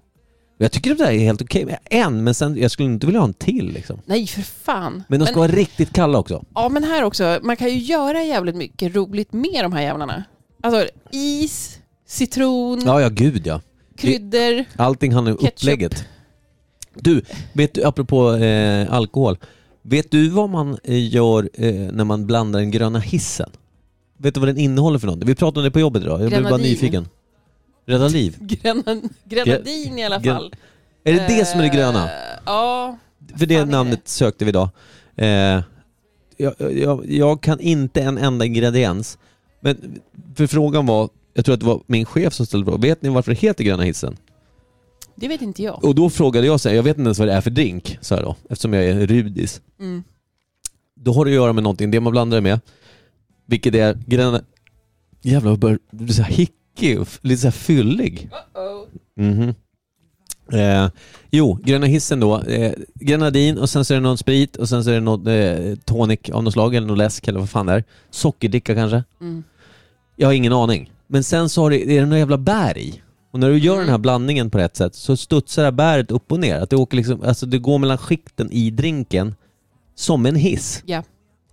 Jag tycker att det där är helt okej, men en, men sen, jag skulle inte vilja ha en till liksom.
Nej, för fan.
Men de ska vara riktigt kalla också.
Ja, men här också. Man kan ju göra jävligt mycket roligt med de här jävlarna. Alltså is, citron,
Ja, ja gud ja.
kryddor.
Allting handlar om
Ketchup.
upplägget. Du, vet du, apropå eh, alkohol. Vet du vad man eh, gör eh, när man blandar den gröna hissen? Vet du vad den innehåller för någonting? Vi pratade om det på jobbet idag. Jag blev bara
Grenadin.
nyfiken. Rädda liv.
Grenan, grenadin i alla
Gren-
fall.
Är det det som är det gröna?
Eh, Ja,
För det
fan är
namnet sökte vi idag. Eh, jag, jag, jag kan inte en enda ingrediens. Men för frågan var, jag tror att det var min chef som ställde frågan. Vet ni varför det heter gröna hissen?
det vet inte jag.
Och då frågade jag så här, jag vet inte ens vad det är för drink, så här då, eftersom jag är en rudis.
Mm.
Då har det att göra med någonting, det man blandar det med, vilket är gröna... Jävlar, jag börjar bli så här hickig och f- lite så här fyllig. Mhm. Eh, jo, gröna hissen då. Eh, grenadin och sen så är det någon sprit och sen så är det någon eh, tonic av något slag eller någon läsk eller vad fan det är. Sockerdricka kanske?
Mm.
Jag har ingen aning. Men sen så har det, är det några jävla bär i. Och när du gör den här blandningen på rätt sätt så studsar det här bäret upp och ner. Att det, åker liksom, alltså det går mellan skikten i drinken som en hiss.
Ja.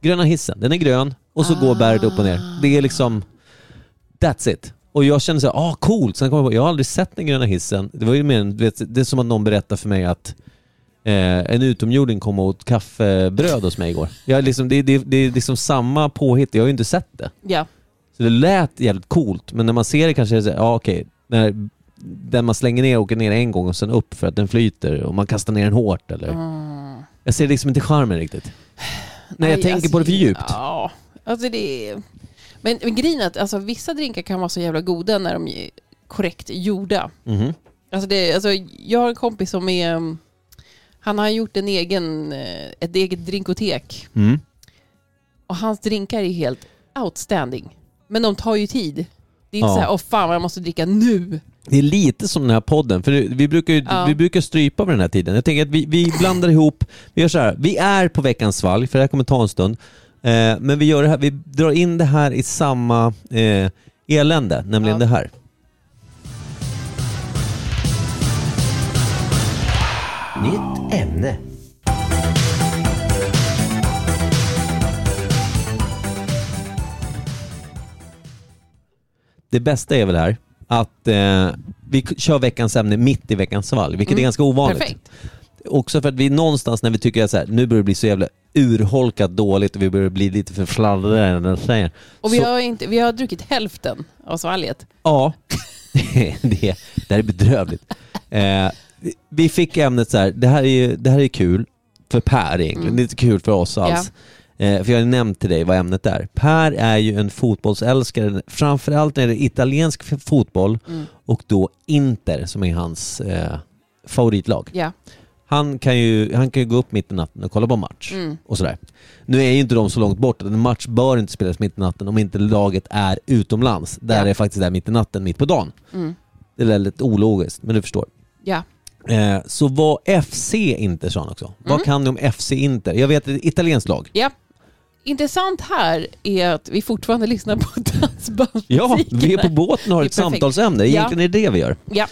Gröna hissen, den är grön och så går bäret upp och ner. Det är liksom, that's it. Och jag kände så här, ah coolt. Sen kom jag på, jag har aldrig sett den gröna hissen. Det var ju mer, en- du vet, det är som att någon berättade för mig att eh, en utomjording kom och åt kaffebröd hos mig igår. Jag, liksom, det, det, det är liksom samma påhitt, jag har ju inte sett det.
Ja.
Så det lät jävligt coolt, men när man ser det kanske är det så här, ja okej, när den man slänger ner åker ner en gång och sen upp för att den flyter och man kastar ner den hårt eller...
Mm.
Jag ser liksom inte charmen riktigt. Nej, jag
Nej,
tänker
alltså,
på det för djupt.
Ja, alltså det är... Men, men grejen är att alltså, vissa drinkar kan vara så jävla goda när de är korrekt gjorda.
Mhm.
Alltså det, alltså, jag har en kompis som är... um, Han har gjort en egen, eh, ett eget drinkotek
Mm.
och hans drinkar är helt outstanding. Men de tar ju tid. Det är inte
Ja.
så här, åh fan vad jag måste dricka nu.
Det är lite som den här podden, för vi brukar, ju,
Ja.
vi brukar strypa på den här tiden. Jag tänker att vi, vi blandar ihop, vi gör så här, vi är på veckans svalg, för det här kommer ta en stund. Eh, men vi, gör det här, vi drar in det här i samma eh, elände, nämligen
Ja.
det här.
Nytt ämne.
Det bästa är väl här att eh, vi k- kör veckans ämne mitt i veckans svalg, vilket är ganska ovanligt.
Mm. Perfekt.
Också för att vi någonstans när vi tycker att så här, nu börjar det bli så jävla urholkat dåligt och vi börjar bli lite för fladdriga när den säger.
Och vi
Så-
har, inte, vi har druckit hälften av svalget.
Ja, det, det här är bedrövligt. Eh, vi- vi fick ämnet så här, det här är, ju, det här är kul för Per egentligen, det är inte kul för oss alls. Eh, för jag har ju nämnt till dig vad ämnet är. Per är ju en fotbollsälskare, framförallt när det är italiensk f- fotboll och då Inter som är hans eh, favoritlag.
Ja.
Han kan, ju, han kan ju gå upp mitt i natten och kolla på match.
Mm.
Och sådär. Nu är ju inte de så långt bort, en match bör inte spelas mitt i natten om inte laget är utomlands. Där
Ja. Mm.
är faktiskt där mitt i natten, mitt på dagen. Det är väldigt ologiskt, men du förstår.
Ja.
Eh, så vad FC Inter sa han också.
Mm.
Vad kan du om FC Inter? Jag vet, det är ett italienskt lag.
Ja. Intressant här är att vi fortfarande lyssnar på dansbandsmusiken.
Ja, vi är på båten och har
Det är
ett
perfekt.
samtalsämne.
Ja.
Egentligen är det det vi gör.
Ja.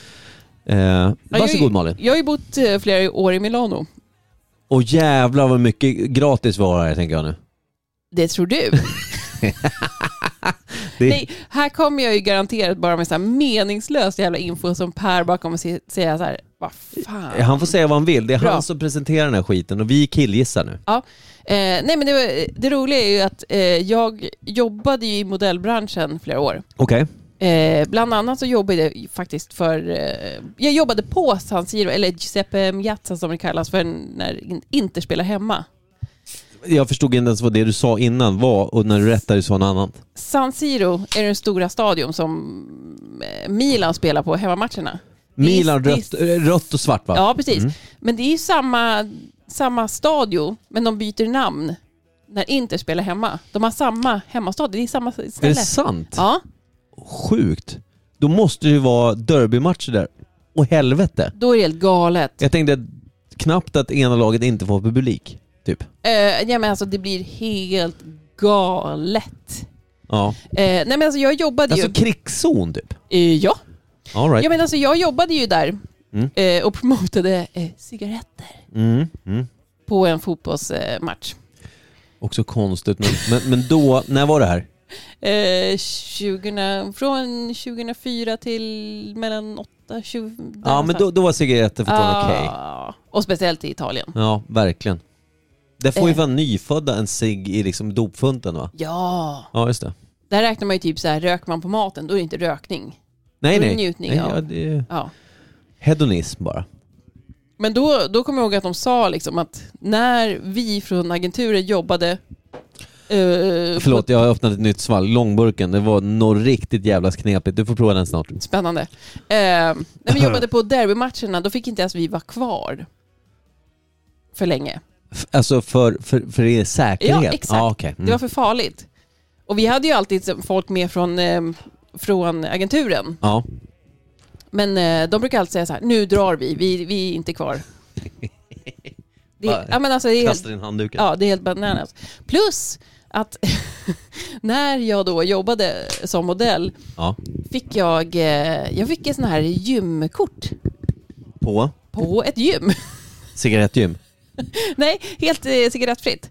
Eh,
Ja,
varsågod
jag, har ju-
Malin.
Jag har ju bott eh, flera år i Milano.
Och jävlar vad mycket gratis vi har här tänker jag nu.
Det tror du.
Det,
Nej, här kommer jag ju garanterat bara med så här meningslös jävla info som Per bara kommer se- säga så här, vad fan.
Han får säga vad han vill. Det är
Bra.
han som presenterar den här skiten och vi killgissar nu.
Ja. Eh, nej men det, var- det roliga är ju att eh, jag jobbade ju i modellbranschen flera år.
Okej.
Eh, bland annat så jobbade jag faktiskt för, eh, jag jobbade på San Siro, eller Giuseppe Miazza som det kallas för när in- Inter spelar hemma.
Jag förstod inte ens vad det du sa innan var och när du rättade sa något annat.
San Siro är den stora stadion som eh, Milan spelar på hemmamatcherna. Det är-
Milan
det är-
rött, eh, rött och svart va?
Ja, precis.
Mm.
Men det är ju samma, samma stadio, men de byter namn när Inter spelar hemma. De har samma hemmastadio, det är samma
är
ställe.
det sant?
Ja,
Sjukt. Då måste det ju vara derbymatcher där. Och helvete.
då är det helt galet.
Jag tänkte knappt att ena laget inte får publik. Typ.
Eh, ja, men alltså det blir helt galet.
Ja.
Eh, nej men alltså jag jobbade
Alltså
ju...
krigszon typ.
Eh, ja.
All right.
ja, men alltså jag jobbade ju där
Mm.
eh, och promotade eh, cigaretter
Mm, mm.
på en fotbollsmatch.
Också konstigt. Men, men, men då, när var det här?
Eh, 20, från 2004 till mellan 8, 20...
Ja
där
men
någonstans. Ah.
då, då var cigaretter fortfarande okej.
Ja, Och speciellt i Italien.
Ja, verkligen. Där får ju
Eh.
fan nyfödda en cigg i liksom dopfunten va?
Ja.
Ja, just det.
Där räknar man ju typ så här, röker man på maten, då är det inte rökning.
Nej,
Då är det
nej.
njutning,
nej
ja.
ja, det är
Ja.
hedonism bara.
Men då, då kommer jag ihåg att de sa liksom att när vi från agenturen jobbade... eh,
Förlåt, jag har öppnat ett nytt svalg. Långburken, det var något riktigt jävla knepigt. Du får prova den snart.
På, spännande. Eh, när vi jobbade på derbymatcherna, då fick inte ens vi vara kvar. För länge.
F- alltså för, för, för er säkerhet?
Ja, exakt.
Ja, okej.
Det var
mm.
för farligt. Och vi hade ju alltid folk med från, eh, från agenturen.
ja.
Men eh, de brukar alltid säga så här, nu drar vi, vi, vi är inte kvar. Det,
Va?
ja, men alltså, det är helt,
Kasta in handduken.
ja, det är helt bananas. Plus att när jag då jobbade som modell
Ja.
fick jag, eh, jag fick ett sån här gymkort
På
på ett gym.
cigarettgym.
Nej, helt eh, cigarettfritt.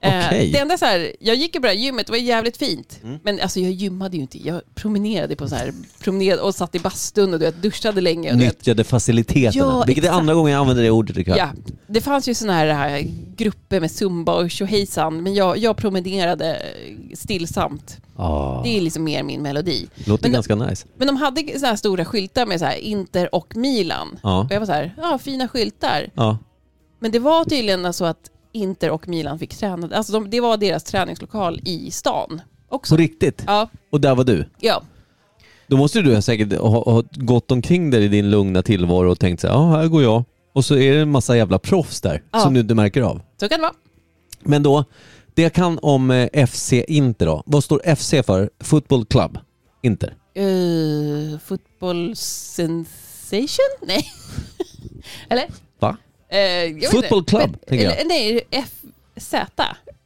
Eh,
Okej.
Det enda så här, jag gick ju på det här gymmet, det var jävligt fint.
Mm.
Men alltså jag gymmade ju inte, jag promenerade på så här, promenad och satt i bastun och du vet, duschade länge. Och du vet,
Nyttjade faciliteterna.
Ja,
vilket är
exakt.
andra gången jag använder det ordet ikväll.
ja, det fanns ju sådana här, här eh, grupper med zumba och tjohejsan, men jag, jag promenerade stillsamt.
Ah,
Det är liksom mer min melodi.
låter
Men-
ganska nice.
Men de hade så här stora skyltar med så här Inter och Milan.
Ja.
Och jag var så här, ja fina skyltar.
Ja.
Men det var tydligen så att Inter och Milan fick träna, alltså de, det var deras träningslokal i stan också.
På riktigt.
Ja,
Och där var du.
ja.
Då måste du säkert ha, ha gått omkring där i din lugna tillvaro och tänkt så här, ja här går jag. Och så är det en massa jävla proffs där
Ja.
som du inte märker av.
så kan det vara.
Men då, det jag kan om eh, FC Inter då. Vad står FC för? Football Club Inter.
Uh, football sensation? Nej. Eller?
Va?
Eh, jag vet
Football
inte.
club,
Men-
tänker jag.
eller- Nej, FZ.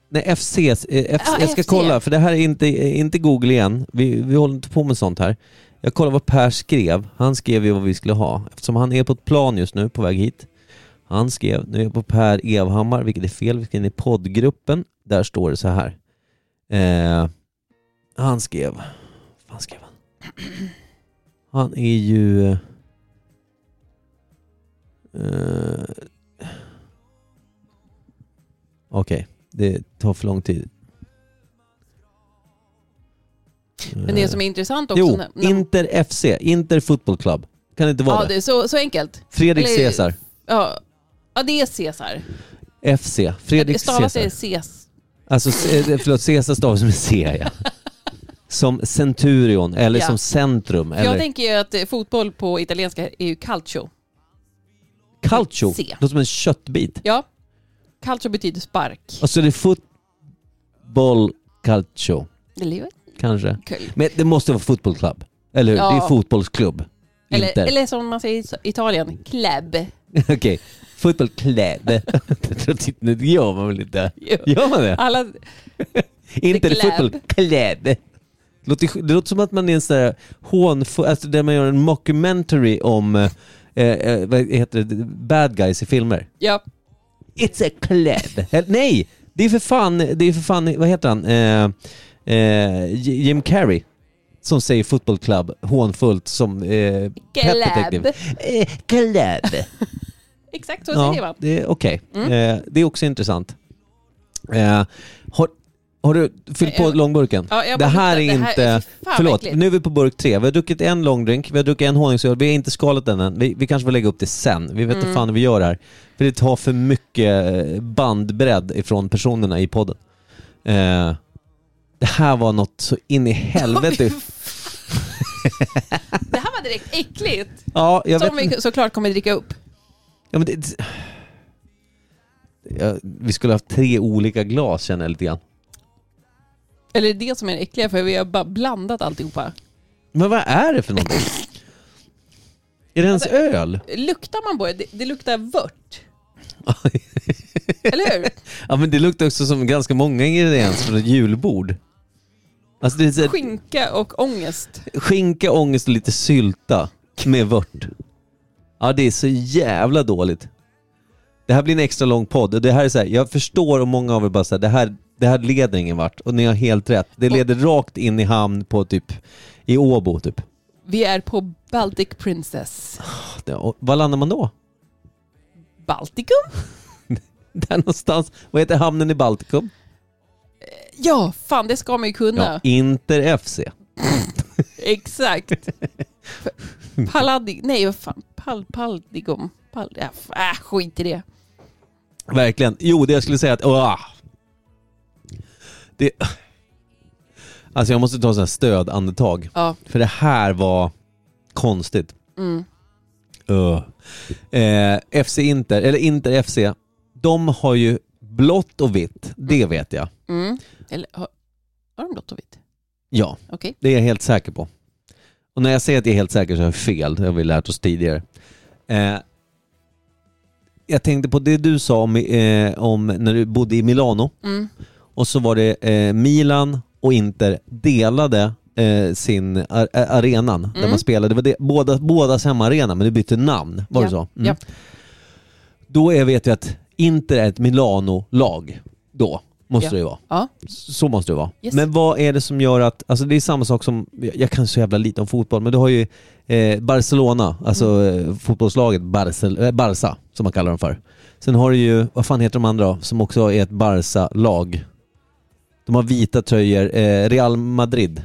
Nej, FC. eh, F-
Ja,
jag ska
FC.
kolla, för det här är inte, eh, inte Google igen. Vi, vi håller inte på med sånt här. Jag kollar vad Per skrev. Han skrev ju vad vi skulle ha. Eftersom han är på ett plan just nu på väg hit. Han skrev, nu är jag på Per Evhammar, vilket är fel. Vi ska in i poddgruppen. Där står det så här. Eh, han skrev... Vad fan skrev han? Han är ju... eh, Eh, Okej. Det tar för lång tid.
Men det som är intressant också...
Eh. Jo,
när- när-
Inter FC, Inter Football Club. Kan det inte vara
ja,
det?
det är så, så enkelt.
Fredrik
eller-
Cesar,
Ja, ja det är Cesar.
FC, Fredrik
Stavas
Cesar.
det Ces?
Alltså, eh, förlåt, Cesar stavas med C ja. Som Centurion, eller
Ja.
som Centrum,
För Jag
eller
tänker ju att eh, fotboll på italienska är ju calcio.
Calcio.
C.
Låter som en köttbit.
Ja. Calcio betyder spark.
Och så är det Football Calcio,
Eller, ju-
kanske.
kul.
Men det måste vara Football Club, eller hur?
Ja.
Det är fotbollsklubb.
eller,
Inter.
eller som man säger i Italien, club.
Okej, Football Club. det gör man väl inte?
Jo.
Gör man det?
Alla,
Inte
The
det
Club.
fotboll, kläd. Låter, det låter som att man är en sån här hånfull, alltså där man gör en mockumentary om, eh, eh, vad heter det, bad guys i filmer.
ja.
It's a club. Eh, Nej! Det är för fan, det är för fan, vad heter han, eh, eh, J- Jim Carrey. Som säger football club hånfullt som eh, Pet Detective. Eh, club.
Exakt så
Ja,
säger man.
det är okej. Eh, det är också intressant. Eh, har, har du fyllt på
Jag-
långburken?
Ja, jag
det
bara
här är
hittar- det här
inte...
är- fy fan,
förlåt,
verkligen.
nu är vi på burk tre. Vi har druckit en långdrink, vi har druckit en honungsöl, vi har inte skalat den än. Vi, vi kanske får lägga upp det sen. Vi vet
Mm.
inte fan hur vi gör här. För det tar för mycket eh, bandbredd ifrån personerna i podden. Eh, det här var något så in i helvete.
Det här var direkt äckligt.
ja, jag
Som
vet inte.
vi såklart kommer dricka upp.
Ja, men det, ja, vi skulle ha haft tre olika glas känner jag lite grann.
Eller det är det som är det äckliga för vi har bara blandat alltihopa.
Men vad är det för någonting? är det ens
Alltså-
öl?
Luktar man på det, det, det luktar vört. Eller hur?
ja men det luktar också som ganska många ingredienser från ett julbord. Alltså det är så här,
Skinka och ångest.
skinka, ångest och lite sylta med vört. Ja det är så jävla dåligt. Det här blir en extra lång podd och det här är så här, jag förstår och många av er bara säger det här, det här leder ingen vart och ni har helt rätt. Det leder rakt in i hamn på typ, i Åbo typ.
Vi är på Baltic Princess.
Och var landar man då?
Baltikum?
Där någonstans, vad heter hamnen i Baltikum?
Ja, fan det ska man ju kunna.
Mm. Ja, Inter FC.
Exakt. Palladi... Nej, vad fan. Pal, paldigum. Pal, äh, f- äh, skit i det.
Verkligen. Jo, det jag skulle säga att... Åh, det, alltså jag måste ta sådana här stödandetag.
Ja.
För det här var konstigt.
Mm.
Öh. Eh, FC Inter, eller Inter FC, de har ju blått och vitt, det vet jag.
Mm. Eller, har, har de blått och vitt?
Ja,
Okej.
det är jag helt säker på. Och när jag säger att jag är helt säker så har jag fel, det har vi lärt oss tidigare. Eh, jag tänkte på det du sa om, eh, om när du bodde i Milano.
Mm.
Och så var det eh, Milan och Inter delade eh, sin ar- ä- arenan där
Mm.
man spelade. Det var det, båda, bådas hemmaarena men det bytte namn. Var
ja.
det så? Mm.
Ja.
Då är, vet vi att Inter är ett Milano-lag då. Måste
Ja.
det ju vara.
Ja.
Så måste det vara.
Yes.
Men vad är det som gör att, alltså det är samma sak som, jag jag kan så jävla lite om fotboll, men du har ju eh, Barcelona, alltså
Mm.
eh, fotbollslaget Barcel, eh, Barca, som man kallar dem för. Sen har du ju, vad fan heter de andra då, som också är ett Barca-lag? De har vita tröjor, eh, Real Madrid.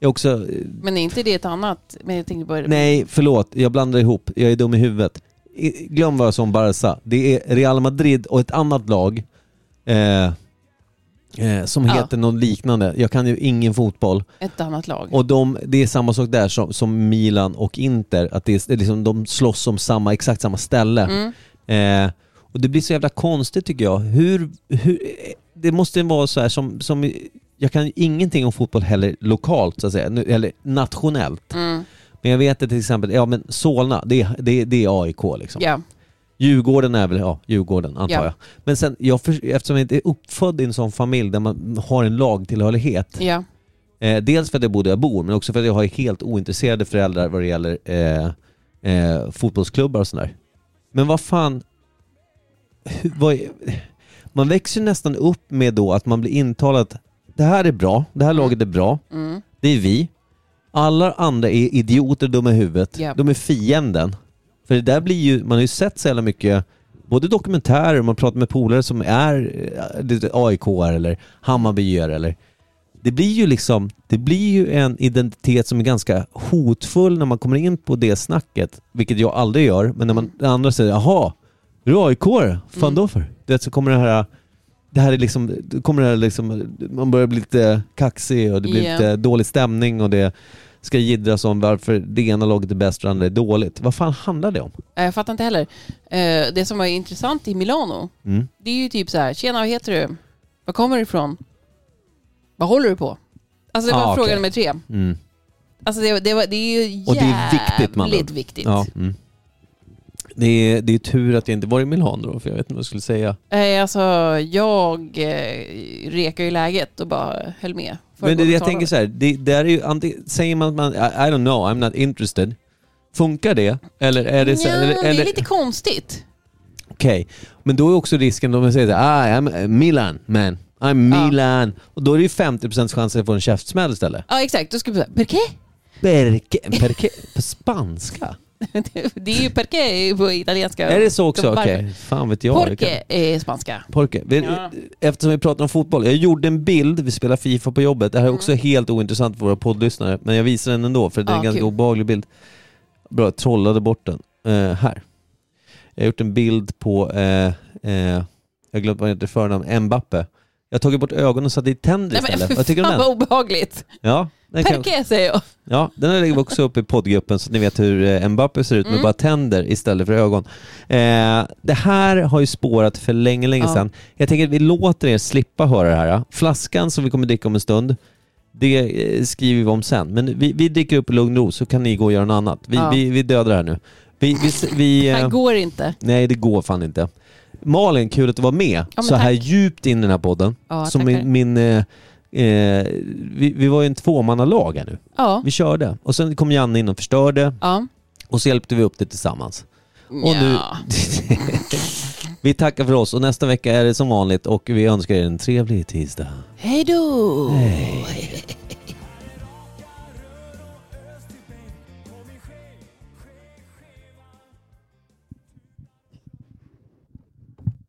Jag också, eh,
Men är inte det ett annat? Men jag tänkte bara...
nej förlåt, jag blandar ihop, jag är dum i huvudet. I, glöm vad jag sa om Barca, det är Real Madrid och ett annat lag eh, eh, som
Ja.
heter något liknande. Jag kan ju ingen fotboll.
Ett annat lag.
Och de, det är samma sak där som, som Milan och Inter, att det är, det är liksom, de slåss om samma, exakt samma ställe.
Mm.
Eh, och det blir så jävla konstigt tycker jag. Hur, hur, eh, det måste vara så här som, som, jag kan ingenting om fotboll heller lokalt så att säga, nu, eller nationellt.
Mm.
Men jag vet att till exempel, ja men Solna, det, är- det, är- det är AIK liksom.
Ja.
Djurgården är väl, ja Djurgården antar
Ja.
jag. Men sen, jag, för, eftersom jag inte är uppfödd i en sån familj där man har en lagtillhörighet,
ja.
Eh, dels för att jag bor där jag bor, men också för att jag har helt ointresserade föräldrar vad det gäller eh, eh, fotbollsklubbar och sådär. Men vad fan... hur- Vad är, man växer ju nästan upp med då att man blir intalad att det här är bra, det här laget är bra,
Mm.
det är vi. Alla andra är idioter, dumma i huvudet,
Ja.
de är fienden. För det där blir ju, man har ju sett så jävla mycket, både dokumentärer, man pratar med polare som är eh, aik eller Hammarbyare eller det blir ju liksom, det blir ju en identitet som är ganska hotfull när man kommer in på det snacket, vilket jag aldrig gör, men när man den andra säger jaha, är du aik Vad fan
Mm.
då för? Du vet, så kommer det här, det här är liksom, då kommer det här liksom, man börjar bli lite kaxig och det blir
Ja.
lite dålig stämning och det ska jiddras om varför det ena laget är bäst och det andra är dåligt. Vad fan handlar det om?
Nej, Äh, Jag fattar inte heller. Eh, Det som var intressant i Milano,
Mm.
det är ju typ så här, tjena vad heter du? Var kommer du ifrån? Vad håller du på? Alltså det var
Ah,
fråga
okej.
nummer tre.
Mm.
Alltså det, det, var, det är ju jävligt
Och det är viktigt, man.
viktigt.
Ja, mm. det, är, det är tur att jag inte var i Milano då, för jag vet inte vad jag skulle säga.
Eh, Alltså jag eh, rekar ju läget och bara höll med.
Men det,
Föregående
jag tänker
talare.
så här, det, det är ju, anting- säger man att man, I, I don't know, I'm not interested. Funkar det? Eller är det så
Nja,
eller,
det
eller-
är lite konstigt.
Okej, men då är också risken om man säger så här, ah, I'm eh, Milan man, I'm
Ja.
Milan. Och då är det ju 50% chans att få en käftsmäll istället.
Ja exakt, då skulle vi säga perché?
Perke, perke, på spanska?
Det är ju perché på italienska.
Är det så också?
Varför?
Okej, fan vet jag. Det kan-
Porche är spanska.
Porke. Vi,
Ja.
Eftersom vi pratar om fotboll, jag gjorde en bild, vi spelar Fifa på jobbet, det här är också helt ointressant för våra poddlyssnare, men jag visar den ändå för det är en
Mm. Ja,
ganska
kul.
obehaglig bild. Bra, jag trollade bort den. Eh, här. Jag har gjort en bild på, eh, eh, jag glömde vad han heter i förnamn, Mbappe. Jag har tagit bort ögonen och satt i tänder
Nej, men,
istället. Vad tycker du om
fan
den?
vad obehagligt.
Ja, den, kan,
Perché säger jag.
ja, den här lägger vi också upp i poddgruppen så att ni vet hur eh, Mbappe ser ut
Mm.
med bara tänder istället för ögon. Eh, det här har ju spårat för länge, länge
Ja.
sedan. Jag tänker att vi låter er slippa höra det här. ja. Flaskan som vi kommer dricka om en stund, det eh, skriver vi om sen. Men vi, vi dricker upp i lugn och ro så kan ni gå och göra något annat. Vi,
Ja.
vi, vi dödar det här nu. Vi, vi, s- vi,
Det här
eh,
går inte.
nej, det går fan inte. Malin, kul att du var med
men
så här
tack.
djupt in i den här podden.
Ja,
Som
tackar.
min, min, eh, eh, vi, vi var ju en tvåmannalag här nu.
Ja.
Vi körde och sen kom Janne in och förstörde
ja.
och så hjälpte vi upp det tillsammans. Och nu...
Nja.
vi tackar för oss och nästa vecka är det som vanligt och vi önskar er en trevlig tisdag.
Hej då!